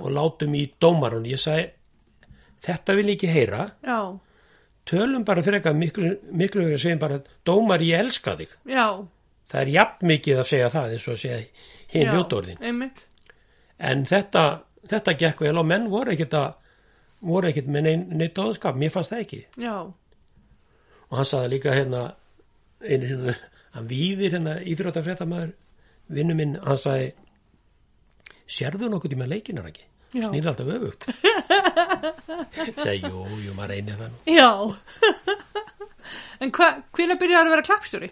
B: og látum í dómarun. Ég sagði, þetta vil ég ekki heyra,
A: Já.
B: tölum bara fyrir eitthvað miklu, miklu verið að segja bara, dómar ég elska þig.
A: Já.
B: Það er jafn mikið að segja það eins og að segja hinn
A: Já.
B: hljóttorðin.
A: Einmitt.
B: En þetta, þetta gekk vel og menn voru ekkit að voru ekkit með neinn neitt áðskap, mér fannst það ekki.
A: Já.
B: og hann saði líka hérna einu hérna, hann víðir hérna íþróttafréttamaður vinnu minn, hann saði sérðu nokkuð tíma leikinar ekki
A: Já.
B: snýr alltaf öfugt segi, jú, jú, maður reynir það nú
A: Já. (laughs) en hva, hvenær byrjaði að vera klappstjóri?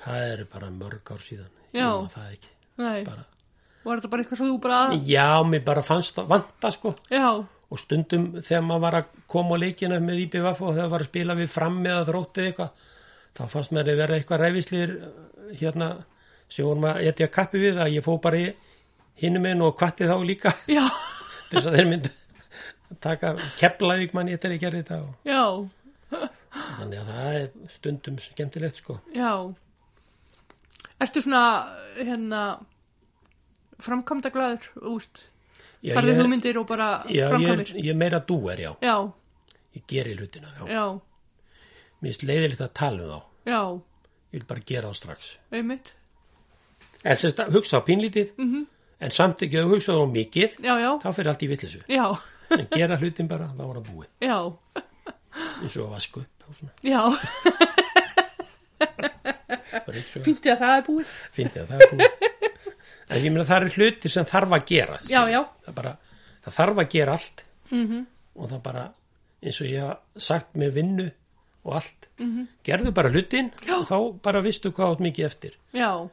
B: það eru bara mörg ár síðan
A: Já.
B: Ég man það ekki
A: Nei.
B: bara.
A: Var þetta bara eitthvað sem þú bara...
B: já, mér bara fannst það vanta sko
A: Já.
B: og stundum þegar maður var að koma á leikina með IBVF og þegar var að spila við fram með að þróttið eitthvað þá fannst mér að vera eitthvað ræfislir hérna sem vorum að etja kappi við að ég fó bara í hinum einn og kvatti þá líka (laughs)
A: Já.
B: til þess að þeir myndu taka keplavík mann ég til að gera þetta og
A: Já.
B: þannig að það er stundum skemmtilegt sko
A: Já. Ertu svona, hérna, framkvæmda glæður, úst?
B: Já,
A: Farðu
B: ég-
A: hugmyndir og bara
B: Já, ég,
A: framkvæmir?
B: er- ég er meira dúer, já
A: Já.
B: ég geri hlutina, já,
A: Já.
B: mér finnst leiðilegt að tala um þá
A: Já.
B: ég vil bara gera þá strax
A: Einmitt.
B: en sem sagt, hugsa á pínlítið -hmm. en samt ekki að hugsa á mikið
A: Já, já.
B: þá fyrir allt í vittlisu
A: Já.
B: en gera hlutin bara, þá var það búið
A: Já.
B: eins og að vaska upp og svona.
A: Já. (laughs)
B: Bara eins og
A: Fyndi að það er búið.
B: fyndi að það er búið en ég meina það eru hluti sem þarf að
A: Já,
B: gera
A: Mhm.
B: skilur.
A: já.
B: það, bara, það þarf að gera allt -hmm. og það bara eins og ég hef sagt með vinnu og allt, -hmm. gerðu bara hlutin
A: Mhm. Já.
B: og þá bara vistu hvað átt mikið eftir
A: Já.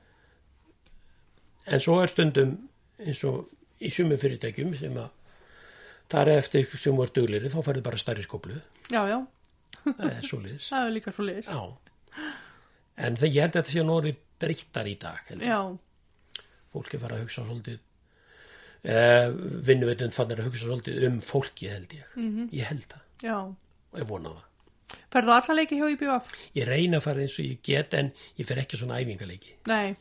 B: en svo er stundum eins og í sumum fyrirtækjum sem að þar eftir sem voru dugleiri þá færðu bara stærri skóplu
A: Já, já.
B: það er svoleiðis
A: Það er líka svo leiðis.
B: Já. En þegar ég held að þetta sé nú orðið breyttar í dag. held ég.
A: Já.
B: Fólk er farið að hugsa svolítið, eh, vinnuvitund fannir að hugsa svolítið um fólki held ég. -hmm. Ég held það
A: Já.
B: og ég vona það.
A: Ferðu á alla leiki hjá IBF?
B: Ég reyna að fara eins og ég get en ég fer ekki á svona æfingaleiki.
A: Nei.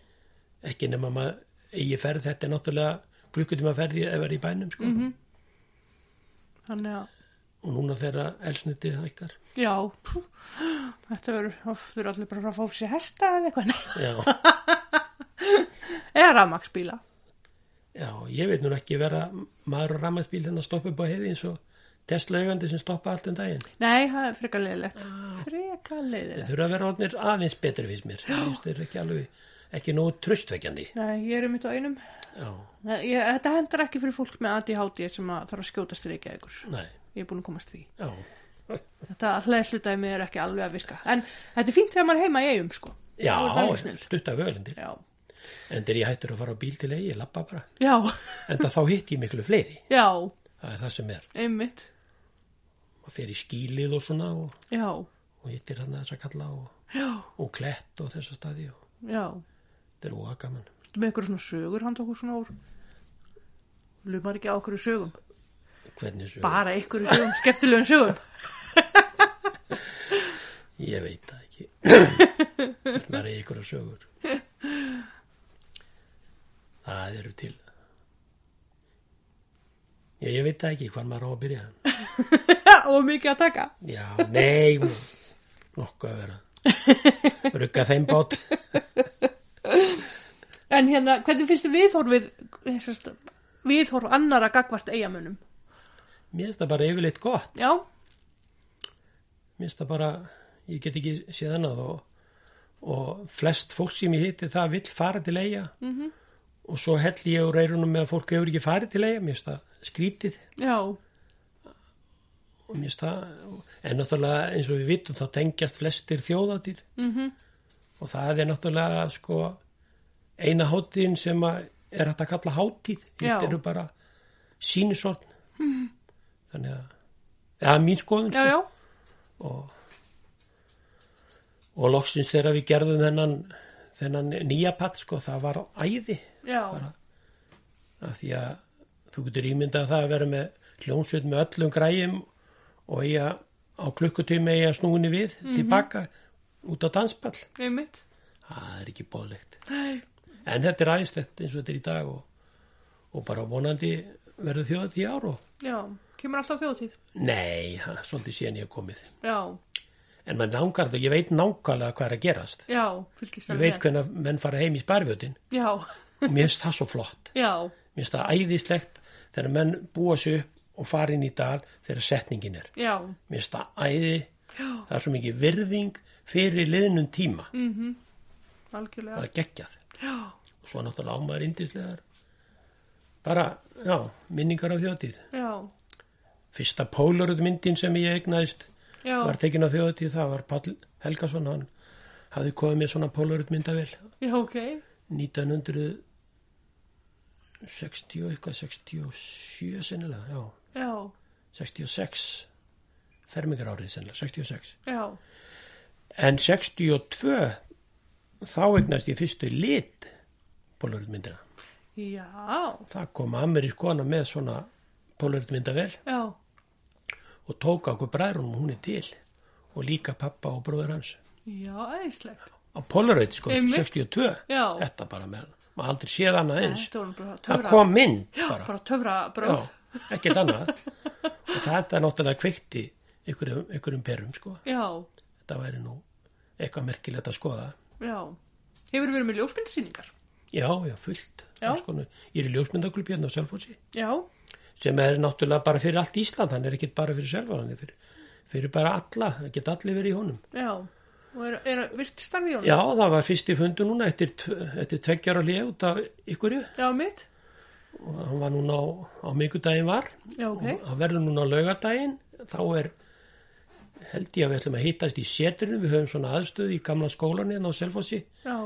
B: Ekki nema maður, ég ferð þetta er náttúrulega klukkutíma ferði ef er í bænum sko. -hmm.
A: Þannig að,
B: Og núna þegar elsnitið hækkar.
A: já. Pú. Þetta verður, of, þau eru allir bara að fá sér hesta eða eitthvað.
B: Já,
A: Eða rafmaksbíla.
B: já, ég veit nú ekki vera maður á rammaðspíl hérna að stoppa upp á heiði eins og Tesla-eigandi sem stoppa allt um daginn.
A: Nei, það er frekar leiðilegt.
B: Ah.
A: Frekar leiðilegt.
B: Þeir þurfa að vera orðnir aðeins betri fyrst mér. Ég finnst þeir ekki alveg, ekki nógu tröstveikjandi.
A: Nei, ég er um mitt á einum.
B: Já,
A: Nei, Ég, þetta hendur ekki fyrir fólk með ADHD sem að þarf að skjóta styrkja ykkur.
B: nei,
A: Ég er búin að komast því.
B: já,
A: Þetta hlæðslutæmi er ekki alveg að virka. En þetta er fínt þegar maður er heima í eigum, sko. Þú ert alveg
B: já,
A: snill.
B: stutt af ölendir.
A: Já.
B: En þegar ég hættur að fara á bíl til eigi, ég lappa bara.
A: Já.
B: En það þá hitt ég miklu fleiri.
A: Já.
B: Það er það sem er.
A: Einmitt.
B: Maður fer í skílið og svona og,
A: Já.
B: og hittir hann þess að kalla og,
A: Já.
B: og klett og þessa staði og
A: Já.
B: þetta er óa gaman.
A: Ertu með ykkur svona sögur hann tók svona úr lumar ekki á okkur sögum
B: Hvernig svo?
A: bara ykkur sögum, skemmtilegum sögum (laughs)
B: Ég veit það ekki. Hvernig er ykkur að sögur? Það eru til. Já, ég veit það ekki hvað maður á að byrja.
A: og mikið að taka
B: Já, nei, nú, nokkuð að vera. Rugga þeim bát.
A: en hérna, hvernig finnst þið viðhorfið eh, sem sagt, viðhorf annara gagvart eigamönnum
B: Mér finnst það bara yfirleitt gott.
A: já,
B: Mér finnst það bara, ég get ekki séð annað og, og flest fólk sem ég hitti það vill fara til eiga -hmm. og svo hell ég úr eyrunum með að fólk hefur ekki farið til eiga, mér finnst það skrítið
A: já,
B: og mér finnst það, en náttúrulega eins og við vitum þá tengjast flestir þjóðatíð
A: mhm,
B: og það er náttúrulega sko eina hátíðin sem að er hægt að kalla hátíð
A: Já. Mhm.
B: þetta eru bara sínusorn þannig að það er mín skoðun
A: já,
B: sko.
A: já,
B: og loksins þegar við gerðum þennan, þennan nýja patt sko, það var æði
A: já,
B: af því að þú getur ímyndað það að vera með hljónsveit með öllum græjum og eiga á klukkutími eiga snúinni við tilbaka út á danspall
A: einmitt,
B: það er ekki bóðlegt
A: nei,
B: En þetta er æðislegt eins og þetta er í dag og, og bara vonandi verður þjóða tíu ár og
A: já, kemur alltaf þjóðtíð,
B: nei, það er svolítið síðan ég hef komið.
A: já,
B: En maður langar þau, ég veit nákvæmlega hvað er að gerast.
A: já, fylgist
B: Ég
A: alveg
B: veit hvernig menn fara heim í sparfjötin
A: með. já, (laughs)
B: og mér finnst það svo flott.
A: já,
B: Mér finnst það æðislegt þegar menn búa sig upp og fara inn í dal þegar setningin er.
A: já,
B: Mér finnst það æði, það er svo mikið virðing fyrir liðnum tíma.
A: algjörlega,
B: Það er geggjað.
A: já,
B: Og svo náttúrulega ámaður indislegar. Bara, já, minningar af þjóðtíð.
A: já,
B: fyrsta Polaroid myndin sem ég eignaðist
A: já,
B: var tekin á þjóðatíð, það var Páll Helgason, hann hafði komið með svona Polaroid myndavél
A: já, ok,
B: 1960 og eitthvað 67 sennilega, já,
A: já,
B: 66 fermingar árið sennilega, 66
A: já,
B: en 62 þá eignaðist ég fyrstu lit Polaroid myndina,
A: já,
B: það kom amerísk kona með svona Polaroid myndavél
A: já,
B: og tók á okkur bræðrunum hún er til og líka pappa og bróður hans
A: já, æðislegt,
B: á Polaroid sko,
A: Einmitt.
B: 62
A: já,
B: þetta bara með maður aldrei séð annað eins
A: þetta var nú bara
B: það
A: töfra,
B: kom mynd bara,
A: bara töfra
B: já,
A: bröð,
B: ekkert
A: (laughs)
B: annað og þetta náttúrulega kveikti ykkurum, ykkurum perum sko
A: já,
B: þetta væri nú eitthvað merkilegt að skoða
A: já, hefur verið með ljósmyndasýningar,
B: já, já, fullt
A: Já.
B: Alls konar. ég er í ljósmyndaklubb hérna á Selfossi
A: já,
B: sem er náttúrulega bara fyrir allt Ísland hann er ekkert bara fyrir Selfoss, hann er fyrir, fyrir bara alla, það geta allir verið í honum
A: já, og er, er virt starfi í honum,
B: já, það var fyrst í fundu núna eftir, tv- eftir tveggjar og hlið út af ykkurju
A: já, mitt,
B: og hann var núna á, á mikudaginn var
A: já, ok,
B: og hann verður núna á laugardaginn þá er held ég að við ætlum að hittast í setrinu við höfum svona aðstöð í gamla skólaninn á Selfossi
A: já,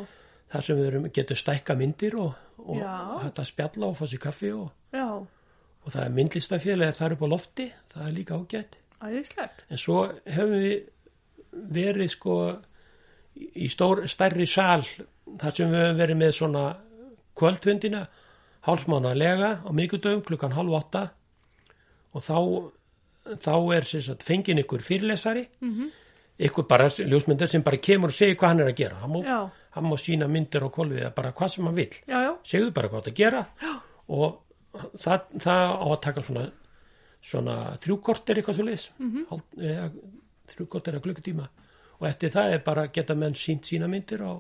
B: þar sem við erum, getum stækka myndir og, og
A: Já.
B: hægt að spjalla og fá sér kaffi og,
A: já,
B: og það er myndlistafélag þar upp á lofti, það er líka ágætt
A: æðislegt,
B: en svo höfum við verið sko í stór, stærri sal þar sem við höfum verið með svona kvöldfundina hálsmánaðlega á miðgudöfum klukkan halv åtta og þá, þá er sem sagt, fengin ykkur fyrirlesari -hmm. ykkur bara ljósmyndar sem bara kemur og segir hvað hann er að gera hann má,
A: já,
B: hann má sína myndir á kolfið eða bara hvað sem hann vill
A: já, já,
B: segðu bara hvað það gera og það, það á að taka svona, svona þrjúkortir eitthvað svo leis mm -hmm. þrjúkortir að klukkutíma og eftir það er bara að geta menn sínt sína myndir á,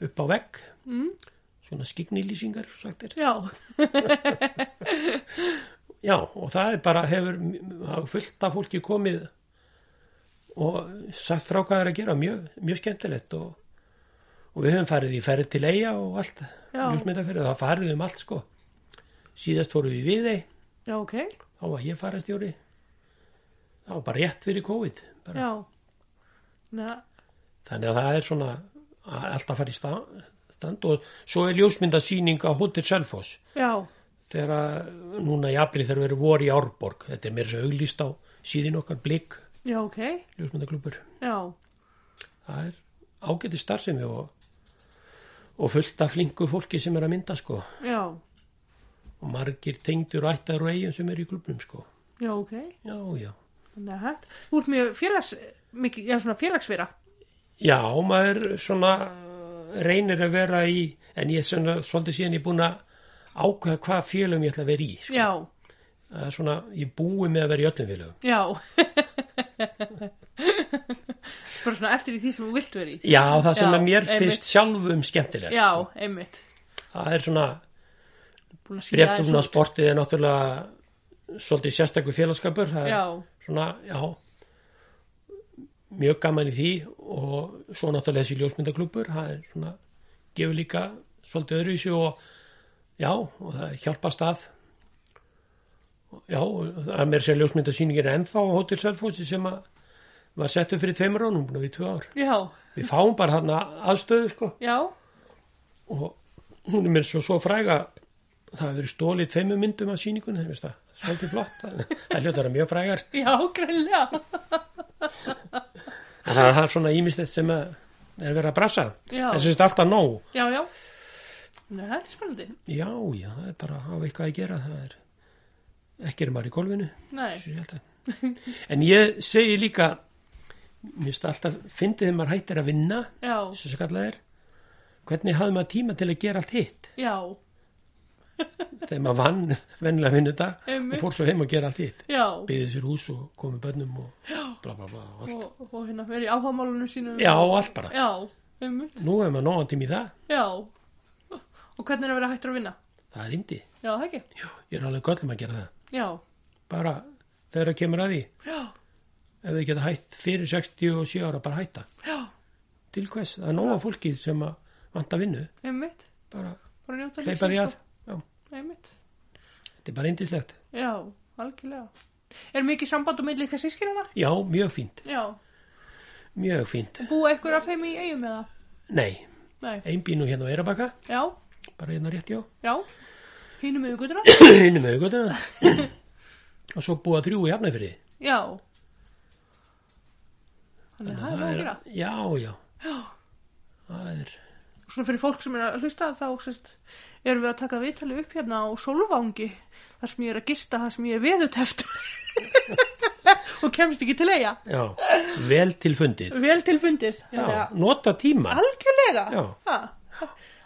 B: upp á vegg mm. svona skiknilýsingar svo sagt er.
A: já,
B: já og það er bara hefur hafa fullt af fólki komið og sagt frá hvað er að gera mjög, mjög skemmtilegt og, og við höfum farið í ferð til eiga og allt
A: Já.
B: ljósmyndaferð, það farið um allt sko síðast fórum við við þeir
A: já, ok,
B: þá var ég farastjóri það var bara rétt fyrir COVID bara.
A: já, na,
B: þannig að það er svona að alltaf farið stand, stand og svo er ljósmyndasýning á Hotel Selfoss
A: já,
B: þegar að núna í april þegar við erum voru í Árborg þetta er mér svo auglýst á síðin okkar blik
A: já, ok,
B: ljósmyndaklubur
A: já,
B: það er ágæti starfsemi og, og fullt af flinku fólki sem er að mynda sko
A: já,
B: og margir tengdur og ættar og eigum sem er í klubnum sko
A: já, ok,
B: já, já
A: þannig að hætt, þú ert mjög félags, mikið, já, svona félagsvera,
B: Já, maður svona uh, reynir að vera í en ég er svona, svolítið síðan ég er búin að ákveða hvað félögum ég ætla að vera í sko.
A: já,
B: Það er svona, ég búi með að vera í öllum félögum
A: já, (laughs) bara svona eftir í því sem þú vilt verið í,
B: Já, það sem
A: Já,
B: að mér
A: einmitt.
B: finnst sjálfum skemmtilegt
A: já,
B: sko.
A: einmitt,
B: Það er svona,
A: búin að sína
B: breftum á sportið er náttúrulega svolítið sérstakur félagskapur það er
A: já,
B: svona, já mjög gaman í því og svo náttúrulega þessi ljósmyndaklubur það er svona, gefur líka svolítið öðruvísi og já, og það hjálpast að já, og það er mér sér ljósmyndasýningin ennþá á Hotel Selfossi sem að var settur fyrir tveimur ánum búin að við tvö ár
A: Já,
B: við fáum bara hann aðstöðu sko
A: já,
B: og hún er mér svo, svo fræga það hefur verið stólið tveimur myndum af sýningunni það er svolítið flott það það hljóta að vera mjög frægar
A: já, greinlega.
B: En það það er svona ímislegt sem að er verið að brasa
A: Já.
B: en sem þetta alltaf nóg
A: Já, já. Nei, það er spennandi.
B: já, já, það er bara að hafa eitthvað að gera það er ekki er maður í golfinu
A: Nei,
B: Svo ég held að. en ég segi líka mér finnst alltaf fyndið þegar maður hættir að vinna
A: já,
B: sem svo kallað er hvernig hafði maður tíma til að gera allt hitt
A: já,
B: þegar maður vann vennilega vinnu dag
A: Einmitt.
B: og fór svo heim og gera allt hitt
A: já.
B: byggði sér hús og komið bönnum og bla bla bla og allt.
A: Og, og hérna verið í áhagamálunum sínum.
B: já, og allt bara
A: Já, einmitt,
B: nú hefur maður nógan tíma í það,
A: já. Og hvernig er að vera hættur að vinna?
B: það er indi
A: Já, það ekki.
B: já, ég er alveg göllum að gera það
A: Já,
B: bara þegar það kemur að því
A: já,
B: ef þau geta hætt fyrir 67 ára bara hætta
A: já,
B: til hvers, það er nóga fólkið sem að vanta vinnu,
A: einmitt.
B: bara
A: Bara njóta
B: hleypa því að
A: og-
B: já,
A: Einmitt,
B: þetta er bara eindislegt
A: já, algjörlega. Er mikið samband á milli ykkar sískinina?
B: já, mjög fínt,
A: Já.
B: mjög fínt
A: Búa ykkur af þeim í eigum eða?
B: nei,
A: Nei.
B: einbínu hérna á Eirabaka
A: Já,
B: bara hérna (coughs) rétt já,
A: já. Hínum yfir gutuna?
B: innum auðvitað
A: (coughs)
B: og svo búa þrjú í hafnafyrði
A: Já. Þannig að það er
B: Það
A: nóg að
B: er-
A: gera.
B: já, já,
A: Já.
B: það er
A: Svona fyrir fólk sem er að hlusta þá sérst, erum við að taka viðtalið upp hérna á Solvangi þar sem ég er að gista það sem ég er veðuteft (laughs) og kemst ekki til eiga.
B: já, vel til fundið
A: Vel til fundið.
B: já,
A: Þannig að-
B: nota tíma
A: Algjörlega.
B: Já.
A: Ha.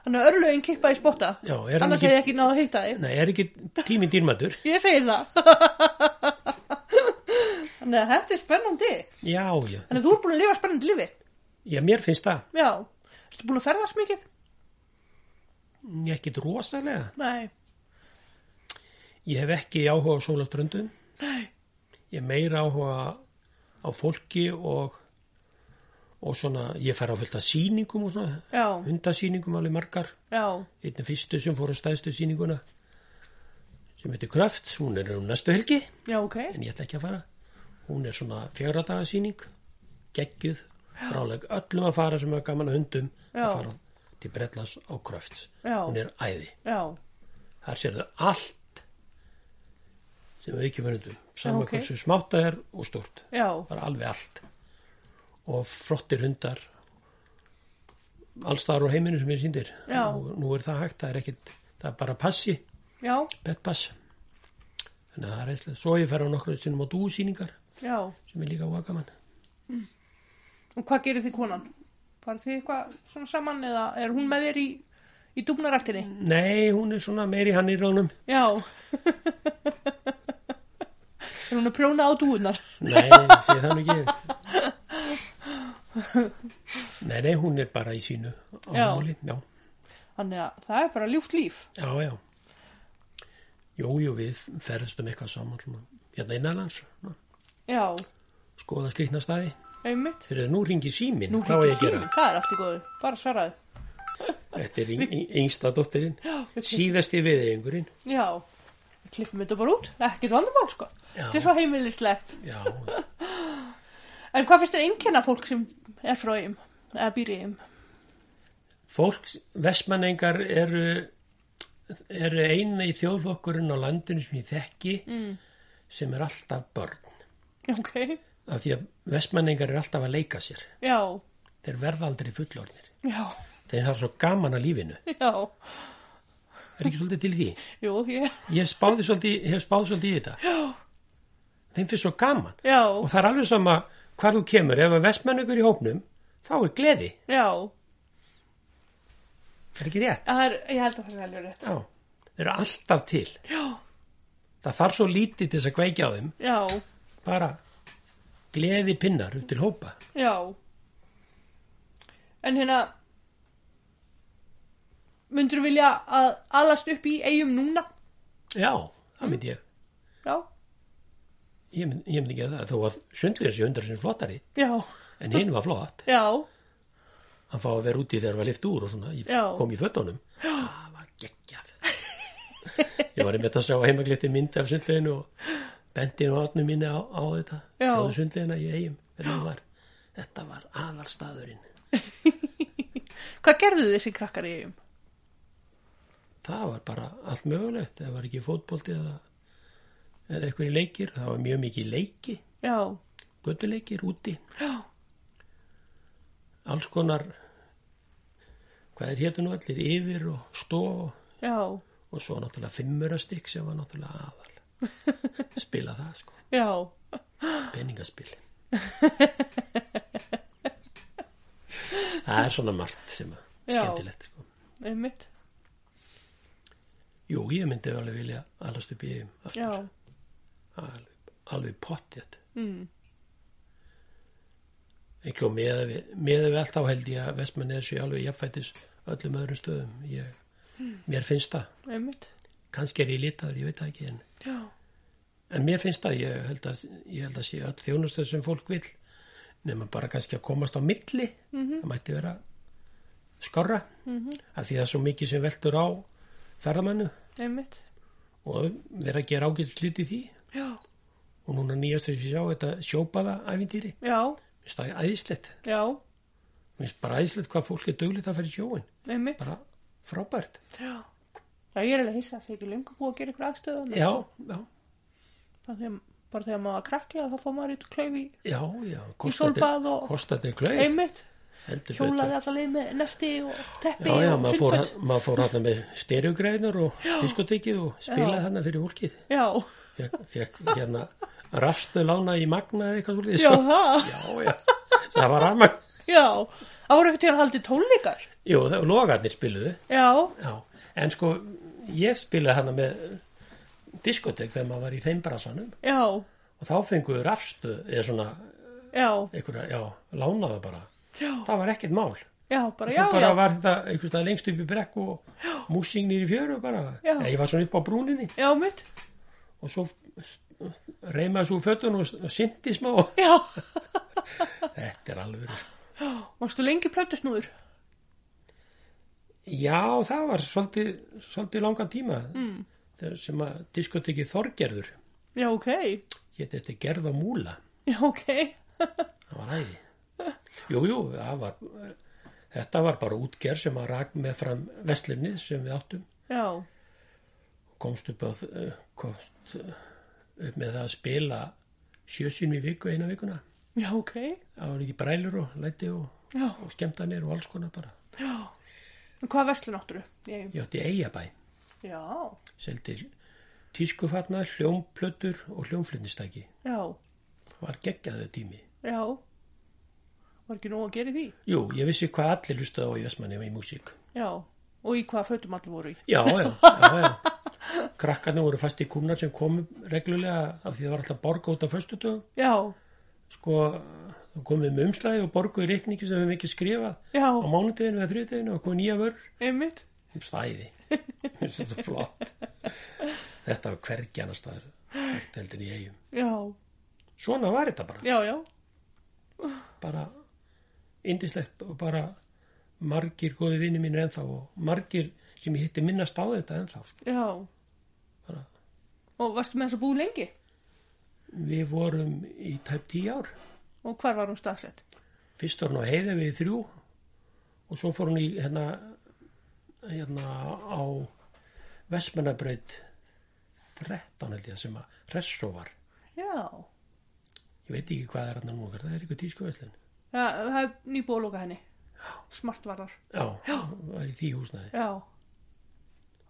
A: Þannig að örlögin kippa í spotta.
B: Já, er hann
A: Annars
B: ekki-
A: hef ég ekki náðu að hitta þig.
B: nei, er ekki tíminn dýrmætur
A: Ég segir það. (laughs) Þannig að þetta er spennandi.
B: já, já,
A: Þannig að þú er búin að lifa spennandi lífi.
B: já, mér finnst það
A: Já. Ertu búin að ferðast mikið?
B: ekkit rosalega
A: Nei.
B: Ég hef ekki áhuga á sólaströndum.
A: Nei.
B: Ég hef meira áhuga á fólki og, og svona, ég fer á fullt af sýningum og svona,
A: Já.
B: hundasýningum alveg margar.
A: Já.
B: Einnig fyrstu sem fór á stæðstu sýninguna sem heitir Kraft, hún er um næstu helgi,
A: Já, ok.
B: en ég ætla ekki að fara. Hún er svona fjögra daga sýning, geggjuð, ráleg öllum að fara sem er gaman að hundum
A: Já.
B: að fara til Bretlands á Krafts.
A: Já.
B: Hún er æði.
A: Já.
B: þar sérðu allt sem við ekki verðum saman
A: Ok.
B: hversu smátt það er og stórt
A: Já.
B: bara alveg allt og flottir hundar allstaðar á heiminu sem ég síndir
A: Já.
B: nú, nú er það hægt, það er ekkit það er bara passi,
A: Já. betpass.
B: betpass þannig að það er eitthvað svo ég fer á nokkru sinnum á dúsýningar
A: Já,
B: sem er líka vakamann
A: og hvað gerir þið konan? Farið þið eitthvað svona saman eða er hún með þér í, í dúfnarættinni?
B: Mm. nei, hún er svona meiri hann í ránum
A: Já. (laughs) er hún að prjóna á dúfnar? (laughs)
B: nei, sé það nú ekki nei, nei, hún er bara í sínu á
A: Já.
B: máli, já
A: Þannig að það er bara ljúft líf.
B: Já, já. Jú, jú, við ferðstum eitthvað saman svona, hérna innanlands, svona,
A: Já,
B: skoða skrýtna staði.
A: einmitt.
B: Þegar nú ringir símin,
A: Nú
B: hvað á
A: hringir
B: ég að gera?
A: síminn, það er allt í góðu. Bara svaraðu.
B: Þetta er yng- yng- yngsta dóttirinn, síðasti viðeyingurinn.
A: Já, við klippum þetta bara út. Ekkert vandamál, sko.
B: Já.
A: Þetta er svo heimilislegt.
B: Já,
A: En hvað finnst þið einkenna fólk sem er frá eigum? Eða býr í eigum?
B: fólk, vestmanningar eru, eru eina í þjóðflokkurinn á landinu sem ég þekki sem er alltaf börn.
A: Já, ok.
B: Af því að vestmanningar eru alltaf að leika sér.
A: Já,
B: Þeir verða aldrei fullorðnir.
A: já,
B: Þeir hafa svo gaman að lífinu.
A: (laughs) já.
B: Er ekki svolítið til því?
A: Jú, ég,
B: Ég spáði svolítið, hef spáð svolítið í þetta.
A: já.
B: Þeim finnst svo gaman.
A: Já,
B: Og það er alveg sama hvar þú kemur. Ef að vestmennugur í hópnum, þá er gleði.
A: já,
B: Það er ekki rétt.
A: það er, ég held að það sé alveg rétt.
B: Já, þeir eru alltaf til.
A: Já,
B: Það þarf svo lítið til þess að kveikja á þeim.
A: já,
B: Bara gleði pinnar upp til hópa.
A: já. En hérna, myndur vilja að alast upp í eigum núna?
B: Já, það myndi ég.
A: Já,
B: ég mynd, ég myndi ekki að það þó að sundlýr sé undar sinni flottari
A: já,
B: en hinn var flott
A: já,
B: hann fá að vera úti þegar var lift úr og svona ég
A: Já.
B: kom í fötunum það var geggjað ég var einmitt að sjá heimaglitti mynd af sundleginu og bendi nú átnu mínu á, á þetta
A: Já.
B: sjáðu sundlegina í eigum þetta var, þetta var aðalstaðurinn
A: hvað gerðu þessi krakkar í eigum?
B: það var bara allt mögulegt það var ekki fótbolti eða, eða eitthvað í leikir, það var mjög mikið leiki
A: Já,
B: göttuleikir úti
A: já,
B: alls konar hvað er hérna nú allir yfir og stof
A: já,
B: og svo náttúrulega fimmurastikk sem var náttúrulega aðal spila það sko,
A: já,
B: peningaspil það er svona margt sem að
A: Já.
B: skemmtilegt sko.
A: einmitt,
B: jú, ég myndi alveg vilja allast upp í eigum aftur.
A: já,
B: alveg, alveg pottjætt mm. ekki og með sko, við, með við allt á held ég að Vestmann er sér alveg jafnfættis öllum öðrum stöðum ég, mér finnst það,
A: einmitt,
B: kannski er ég litaður ég veit það ekki en
A: já,
B: En mér finnst það, ég held að, ég held að sé öll þjónustöð sem fólk vil nema bara kannski að komast á milli
A: Mhm.
B: það mætti vera skorra af því það er svo mikið sem veltur á ferðamannu
A: einmitt,
B: og vera að gera ágætt sluti því
A: já,
B: og núna nýjast þess að sjá þetta sjópaða æfindýri,
A: já,
B: finnst það æðislegt
A: já,
B: finnst bara æðislegt hvað fólk er duglið að fyrir sjóin
A: einmitt,
B: bara frábært
A: já. Já, ég er alveg hissa að það er ekki lengur búið að gera ykkur aðstöðan.
B: já, já,
A: Þegar, bara þegar maður var krakki að þá fór maður í klaufi
B: já, já
A: sólbað og-
B: kostandi klauf
A: einmitt,
B: heldur betur.
A: hjólaði allar leið með nesti og teppi
B: Já, já,
A: og
B: maður fór,
A: sundföt.
B: maður fór hann með stereogræðinar og diskotekið og spilaði hann fyrir fólkið.
A: Já,
B: Fekk, fekk hérna rastu lána í magna eða eitthvað svolítið.
A: já, það,
B: Já, já, það var rafmagn.
A: já, það voru ekkert til að haldi tónleikar.
B: Jú, það, logarnir spiluðu,
A: Já,
B: já. En sko, ég spilaði hann með diskotek þegar maður var í þeim brasanum
A: já,
B: og þá fenguðu rafstu eða svona
A: já,
B: einhverja, já, lánaðu bara.
A: já,
B: Það var ekkert mál.
A: já, bara já,
B: Svo bara
A: já,
B: var þetta einhvers stað lengst upp í brekku og músingnir í fjöru bara.
A: Já.
B: Ég var svona upp á brúninni.
A: já, mitt,
B: og svo reymaði svo fötun og syndi smá og
A: já,
B: þetta er alveg
A: varstu lengi plötusnúður?
B: já það var svolítið, svolítið langan tíma mm. sem að diskotekið Þorgerður
A: Já, ok,
B: hétt þetta Gerða Múla
A: já, ok,
B: það var æði jú, jú, það var þetta var bara útgerð sem að rak með fram vestlefnið sem við áttum
A: já,
B: komst upp, að, komst eh, upp með það að spila sjösinn í viku eina vikuna
A: já, ok,
B: það var ekki brælur og læti og,
A: já,
B: og skemmtanir og alls konar bara
A: já. En hvað verslun áttur þú? Ég,
B: ég átti eigabæ
A: já,
B: seldi tískufatnar, hljómplötur og hljómflutnistæki.
A: já,
B: Var geggjaðu tími.
A: já, var ekki nóg að gera í því?
B: Jú, ég vissi hvað allir lustaði á í Vestmanni í músík.
A: Já, og í hvaða fötum allir voru í?
B: Já, já, já, já. Krakkarnir voru fast í kúmnar sem komu reglulega af því það var alltaf borga út af föstudögum.
A: Já,
B: Sko, þá komum við með umslæði og borgu í reikningi sem við hefum ekki skrifað
A: já,
B: á mánudeginu eða þriðdeginu og komum nýja vörur. Um
A: einmitt,
B: Stæði. (laughs) Þetta er svo flott. Þetta var hvergi annars staðar. Þetta heldur í eigum.
A: já,
B: Svona var þetta bara.
A: já, já,
B: bara indislegt og bara margir góði vinni mínir ennþá og margir sem ég hitti minnast á þetta ennþá sko.
A: já.
B: Bara-
A: Og varstu með þess að búið lengi?
B: við vorum í tæp tíu ár
A: Og hvar var hún staðsett?
B: fyrst var hún á heiði við í þrjú og svo fór hún í hérna, hérna á Vestmannabraut 13 held ég sem að Ressó var
A: Já,
B: ég veit ekki hvað er hann nú það er eitthvað tískuveslin
A: já það er nýbúið að lóka henni. Smart var þar,
B: já, það var í því húsnaði
A: já.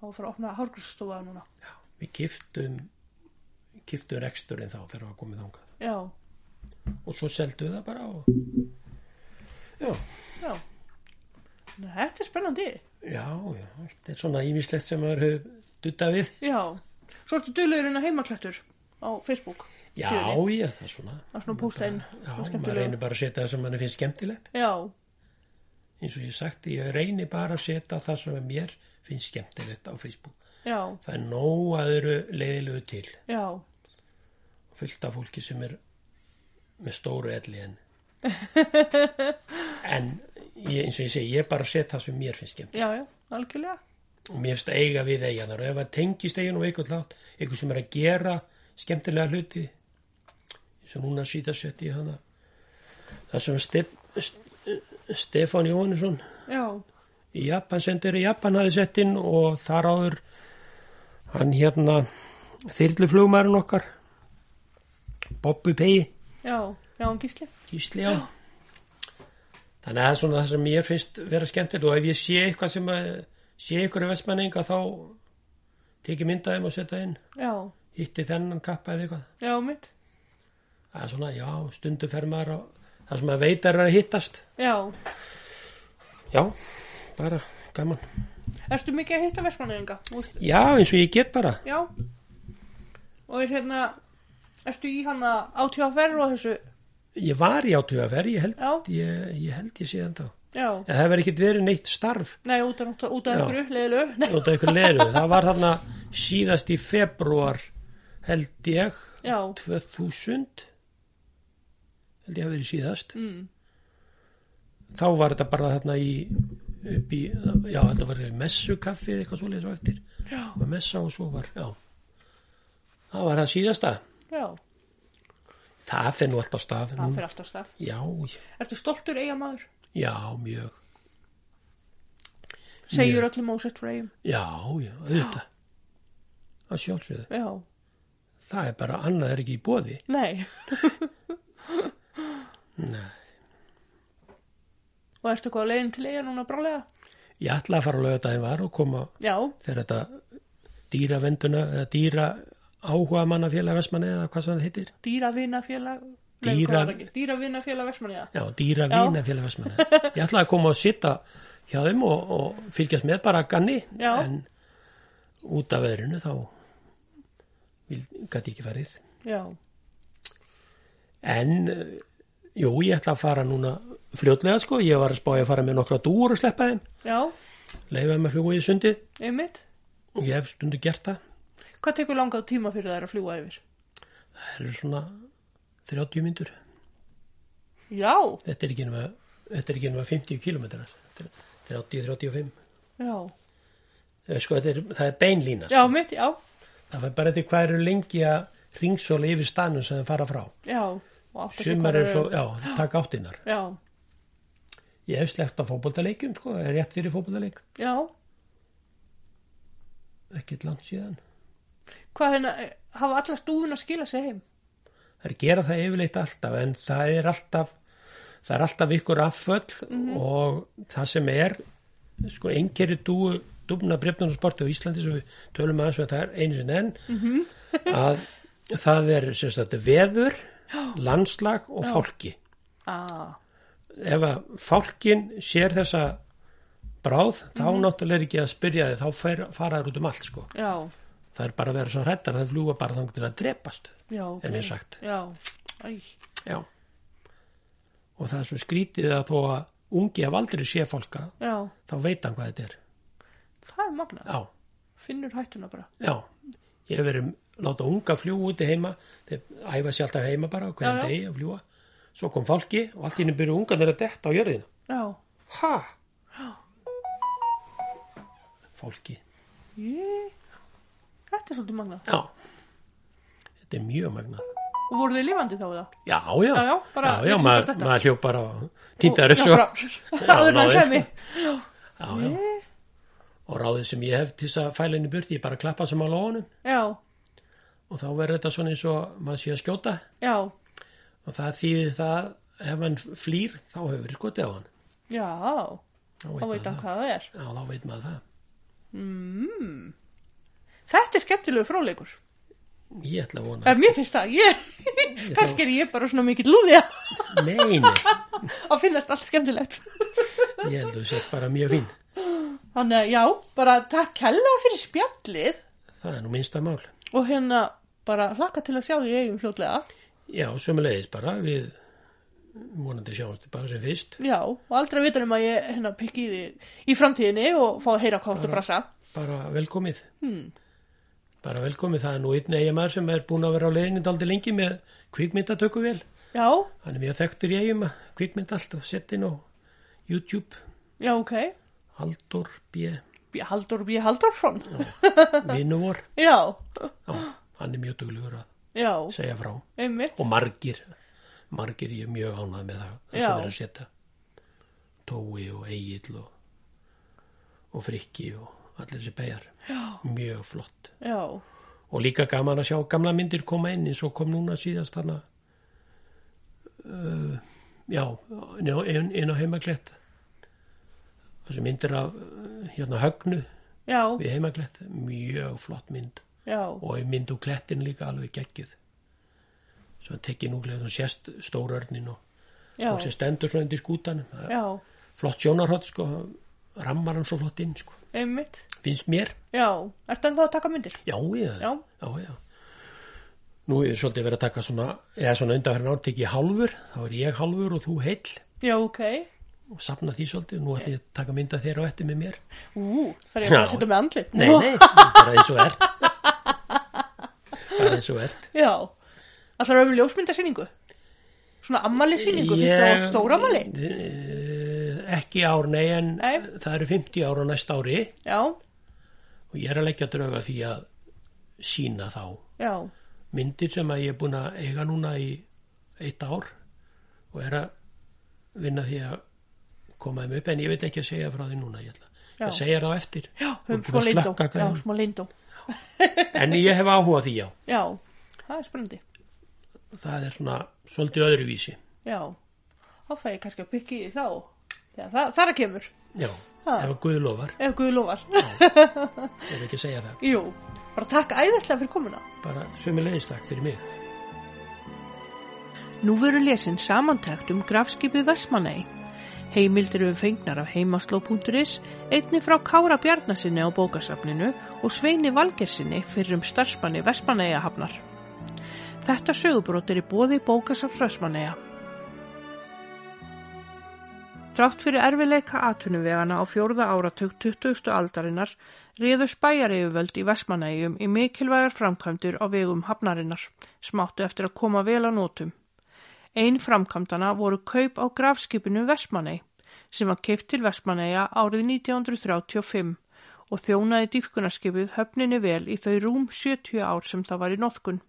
A: Það var fyrir að opna hárgrússtofa núna.
B: já, við kiftum kiftum reksturinn þá þegar það var komið þangað
A: Já,
B: og svo seldu við það bara og... já,
A: já. Nei, þetta er spennandi.
B: já, já þetta er svona ímislegt sem maður hefur duttað við
A: Já. Svo ertu duglegurinn að heimaklættur á Facebook.
B: já,
A: síðunni.
B: já, það er svona
A: Það er svona póstæn.
B: já, maður reynir bara að setja það sem manni finnst skemmtilegt
A: Já,
B: eins og ég hef sagt, ég reynir bara að setja það sem mér finnst skemmtilegt á Facebook
A: já,
B: það er nóg aðru leiðilegu til
A: já,
B: fullt af fólki sem er með stóru elli en en ég, eins og ég segi, ég er bara að setja það sem mér finnst skemmt
A: já, já, algjörlega
B: og mér finnst að eiga við eiga þar og ef að tengist eigin og eitthvað látt eitthvað sem er að gera skemmtilega hluti eins og núna síðasett í hana það sem Stef, Stefán Jóhannesson
A: já,
B: í Japan sendir í Japan hafi sett inn og þar áður hann hérna þyrluflugmærin okkar Bobby Pei
A: já, já, um gísli
B: Gísli á þannig að það er svona það sem ég finnst vera skemmtilegt og ef ég sé eitthvað sem að sé ykkur í vestmenninga þá tekið myndaðum og setja inn
A: já,
B: hitti þennan kappa eða eitthvað
A: já, um mitt
B: það er svona, já, stundu fer maður á það sem að veit er að hittast
A: já,
B: já, bara gaman
A: ertu mikið að hitta versmanninga?
B: já, eins og ég get bara
A: já og er hérna ertu í hana átífaferð og þessu
B: ég var í átugaferð, ég held
A: já,
B: ég, ég held ég síðan þá en
A: já,
B: það hefur ekkert verið neitt starf
A: nei, út af, út af
B: Já.
A: ykkur, leiðilegu (laughs) Nei,
B: út af ykkur leiru, það var þarna síðast í februar held ég
A: já,
B: 2000 held ég hafi verið síðast
A: mm,
B: þá var þetta bara þarna í upp í, já þetta var messukaffi eða eitthvað svoleiðis á eftir
A: já,
B: var messa og svo var, já það var það síðasta
A: já
B: það fer nú alltaf stað nú.
A: það fyrir alltaf stað
B: já,
A: ertu stoltur eiga maður?
B: já, mjög
A: segir öllum ósett frá eigum
B: já, já, auðvitað það sjálfsögðu,
A: já,
B: það er bara annað er ekki í bóði
A: nei
B: Nei.
A: og ertu eitthvað á leiðin til eiga núna brálega?
B: ég ætla að fara að löga þetta var og koma
A: já,
B: þegar þetta dýravenduna eða dýra áhuga mannafélag Vestmanni eða hvað sem það heitir
A: dýravinafélag
B: Dýra-
A: dýravinafélag versmanninga
B: Já, dýra vína félag Vestmanna. Ég ætlaði að koma og sitta hjá þeim og, og fylgjast með bara að ganni
A: Já.
B: en út af veðrinu þá gæti ekki farið.
A: já,
B: En eh, jú, ég ætla að fara núna fljótlega sko, ég var að spá ég að fara með nokkra dúur og sleppa þeim,
A: já,
B: leifa þeim að fljúga í sundið
A: einmitt
B: og ég hef stundu gert það.
A: hvað tekur langa tíma fyrir þær að fljúa yfir?
B: Það eru svona 30 myndur.
A: já,
B: Þetta er ekki nema, þetta er ekki nema 50 kilometrar, 30-35.
A: já,
B: Sko, þetta er, það er beinlína. sko.
A: já, mitt, já
B: Það fyrir bara eftir hvað eru lengi að ringsóla yfir stanum sem þeim fara frá.
A: já, og átta sig
B: Sumar
A: hvar
B: eru svo, já, taka áttinnar.
A: já,
B: Ég hef slegt á fótboltaleikjum, sko, er rétt fyrir fótboltaleik,
A: já,
B: ekkert langt síðan.
A: hvað hérna eh, hafa allar stúfun að skila sig heim
B: Það er gera það yfirleitt alltaf, en það er alltaf, það er alltaf ykkur afföll og það sem er, sko, einkerri dúu, dúfna brefnarsporti á Íslandi sem við tölum aðeins við það er einu sinni enn, að það er, sem sagt, veður, landslag og fólki. Ah.
A: aaa,
B: ef að fólkin sér þessa bráð, þá náttúrulega er ekki að spyrja þið, þá fer, fara þær út um allt sko.
A: já,
B: Það er bara að vera svo hrættar, það fljúga bara þangt til að drepast,
A: já
B: er
A: ok.
B: mér sagt.
A: já, æ,
B: Já. Og það er svo skrítið að þó að ungi af aldrei sé fólka,
A: já,
B: þá veit hann hvað þetta er.
A: það er magna
B: Já,
A: finnur hættuna bara
B: já. Ég hef verið láta unga fljúga úti heima, þeir æfa sér alltaf heima bara, á hverjum
A: Já, já.
B: degi að fljúga. Svo kom fólki og allt í henni byrju ungan þeirra detta á jörðina.
A: já,
B: Ha? Fólki.
A: ég þetta er svolítið magna
B: Já, þetta er mjög magnað.
A: og voru þið lifandi þá eða?
B: Já, já,
A: Já, já, bara
B: já, já
A: lýsum
B: maður,
A: þetta.
B: maður hljóp bara og týndaður
A: Já,
B: þessu
A: bara- (laughs) áður en hann
B: náði.
A: kemi
B: já, já. og ráðið sem ég hef til þess að fæla henni burti, ég bara klappa sem á lóðunum
A: já,
B: og þá verður þetta svona eins og maður sé að skjóta
A: já,
B: og það þýðir það ef hann flýr þá hefur verið skotið á hann.
A: já þá
B: maður
A: veit hann
B: það.
A: hvað það er Hmm.
B: Já, þá veit maður það.
A: þetta er skemmtilegu fróleikur
B: Ég ætla að vona.
A: ef mér finnst það, ég, kannski er ég bara svona mikill lúði að
B: Nei, nei,
A: að finnast allt skemmtilegt (laughs)
B: ég held að þú sett bara mjög fín.
A: þannig að já, bara takk kella fyrir spjallið
B: Það er nú minnsta mál.
A: og hérna bara hlakka til að sjá því eigum fljótlega
B: Já, sömulegis bara, við vonandi sjáumst bara sem fyrst.
A: já, og aldrei að vita um að ég hérna pikki í því í framtíðinni og fá að heyra hvað þú ert að brasa
B: bara velkomið hmm. bara velkomi, það er nú einn eigamæður sem er búin að vera á leiðinni daldi lengi með kvikmyndatökuvél
A: Já,
B: hann er mjög þekktur í eigum að kvikmynd allt og sett inn á YouTube
A: já, ok.
B: Haldur B.
A: B. Haldur B. Haldursson.
B: Vinnuvor
A: Já,
B: hann er mjög duglugur að
A: já,
B: segja frá
A: einmitt.
B: og margir margir ég er mjög ánað með það það
A: Já.
B: sem er að setja Tói og Egil og, og Frikki og allir þessi beigjar mjög flott
A: Já,
B: og líka gaman að sjá gamla myndir koma inn eins og kom núna síðast hana uh, já inn á, inn, inn á heimaklett þessi myndir af uh, hérna högnu
A: já,
B: við heimaklett mjög flott mynd
A: já,
B: og í mynd úr klettin líka alveg geggjuð svo hann tekið núglega og sérst stórörnin og
A: já,
B: hún sem stendur svona undir skútanum Það er
A: já,
B: flott sjónarhótt sko rammar hann svo flott inn sko
A: einmitt.
B: finnst mér,
A: Já, ertu ennþá að taka myndir?
B: já ég
A: Já.
B: já, já. nú er svolítið verið að taka svona eða svona undanferðin ár tekið hálfur þá er ég hálfur og þú heill
A: Já, ok.
B: og sapna því svolítið nú ætlum ég að taka mynda þér á eftir með mér
A: Ú, þarf ég bara
B: Já.
A: að setja með andlit?
B: nei, nei, bara eins og ert bara eins og ert
A: Já, allar við um ljósmyndasýningu? Svona ammalisýningu, fyrst það var stóra ammali?
B: Eh, Ekki ár, nei, en
A: Nei.
B: það eru 50 ár á næsta ári
A: Já,
B: og ég er að leggja drauga því að sína þá
A: já,
B: myndir sem að ég er búin að eiga núna í eitt ár og er að vinna því að koma þeim upp en ég veit ekki að segja frá því núna ég ætla
A: Já.
B: að segja það á eftir
A: (laughs) já,
B: Og
A: höfum smá
B: búin að
A: leindó.
B: slökka
A: Já,
B: græjunum.
A: smá leindó.
B: en ég hef áhuga á því já
A: Já, það er spennandi.
B: það er svona svolítið öðruvísi
A: Já, þá fæ ég kannski að pikki í þá. Já, það, það er að kemur,
B: já,
A: Ha.
B: ef að Guð lofar
A: ef Guð lofar.
B: ég er ekki að segja það
A: Jú, bara takk æðislega fyrir komuna.
B: bara sömu leiðistak fyrir mig
A: Nú veru lesin samantækt um grafskipið Vestmanei. Heimildir eru fengnar af heimasló.is, einni frá Kára Bjarnasinni á bókasafninu og Sveini Valgersinni fyrir um starfsmanni Vestmaneiða hafnar. Þetta sögubrót er í bóði bókasafns Vestmaneiða. Þrátt fyrir erfileika atvinnuvegana á fjórða áratug 20. aldarinnar réðu spæjareifuvöld í Vestmanægjum í mikilvægar framkvæmdur á vegum hafnarinnar, smáttu eftir að koma vel á nótum. Einn framkvæmdana voru kaup á grafskipinu Vestmanæg sem var keift til Vestmanæja árið 1935 og þjónaði dýfkunarskipið höfninni vel í þau rúm 70 ár sem það var í nóðkun.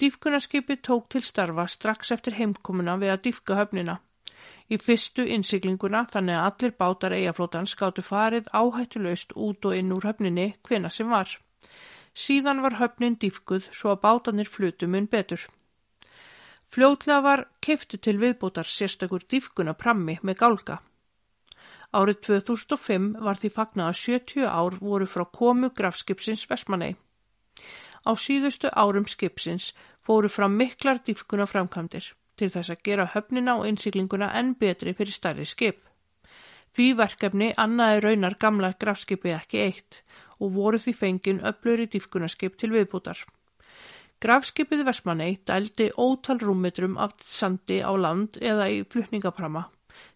A: Dýfkunarskipið tók til starfa strax eftir heimkomuna við að dýfka höfnina. Í fyrstu innsiglinguna þannig að allir bátar eigaflótans gáttu farið áhættulaust út og inn úr höfninni hvena sem var. Síðan var höfnin dýfkuð svo að bátanir flutu mun betur. Fljótlega var keiftu til viðbótar sérstakur dýfkunaprammi með gálga. Árið 2005 var því fagnað að 70 ár voru frá komu grafskipsins Vestmanei. Á síðustu árum skipsins fóru fram miklar dýfkuna framkvæmdir til þess að gera höfnina og innsiglinguna enn betri fyrir stærri skip. Því verkefni annaði raunar gamla grafskipið ekki eitt og voru því fengin öflöri dýfkunaskip til viðbútar. Grafskipið Vestmanei dældi ótal rúmmetrum af sandi á land eða í flutningaprama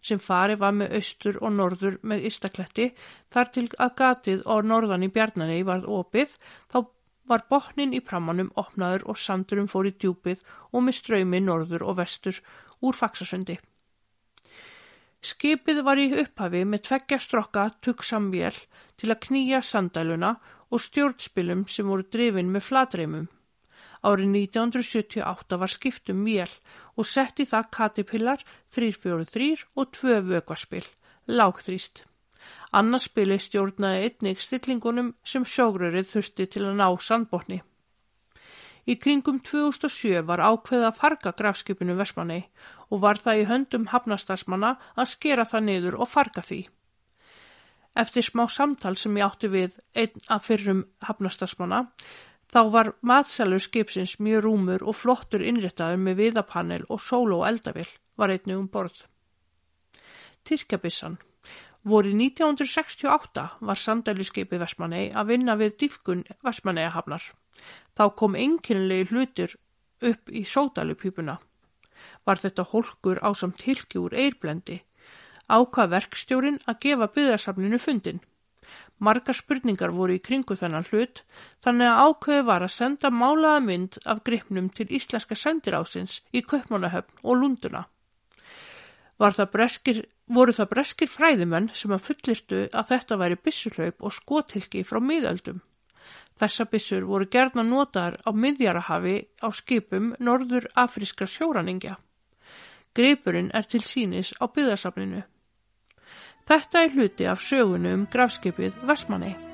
A: sem fari var með austur og norður með istakletti þar til að gatið og norðan í bjarnanei varð opið þá var botnin í pramanum opnaður og sandurum fór í djúpið og með ströymi norður og vestur úr faksasundi. Skipið var í upphafi með tveggja strokka tuggsamvél til að knýja sandæluna og stjórnspilum sem voru drifin með flatreimum. Árið 1978 var skipt um vél og sett í það katipillar 343 og tvö vökvaspil, lágþrýst. Annars spili stjórnaði einnig stillingunum sem sjógrörið þurfti til að ná sandbotni. Í kringum 2007 var ákveða að farga grafskipinu Vestmanni og var það í höndum hafnastarsmanna að skera það niður og farga því. Eftir smá samtal sem ég átti við einn af fyrrum hafnastarsmanna, þá var matselur skipsins mjög rúmur og flottur innréttaður með viðapanel og sólo og eldavil var einnig um borð. Tyrkjabissan Voru 1968 var sandæluskipi Vestmanei að vinna við dýfkun Vestmaneiahafnar. Þá kom einkennilegi hlutir upp í sódalupípuna. Var þetta hólkur á samt hilki úr eirblendi. Ákvað verkstjórin að gefa byggðarsafninu fundin. Margar spurningar voru í kringu þennan hlut þannig að ákveði var að senda málaða mynd af gripnum til íslenska sendirásins í Kaupmannahöfn og Lunduna. Var það breskir, voru það breskir fræðimenn sem að fullirtu að þetta væri byssulaup og skotilki frá miðöldum. Þessa byssur voru gerna notaðar á miðjarahafi á skipum norður afríska sjóranningja. Greipurinn er til sínis á byðasafninu. Þetta er hluti af sögunu um grafskipið Vestmanni.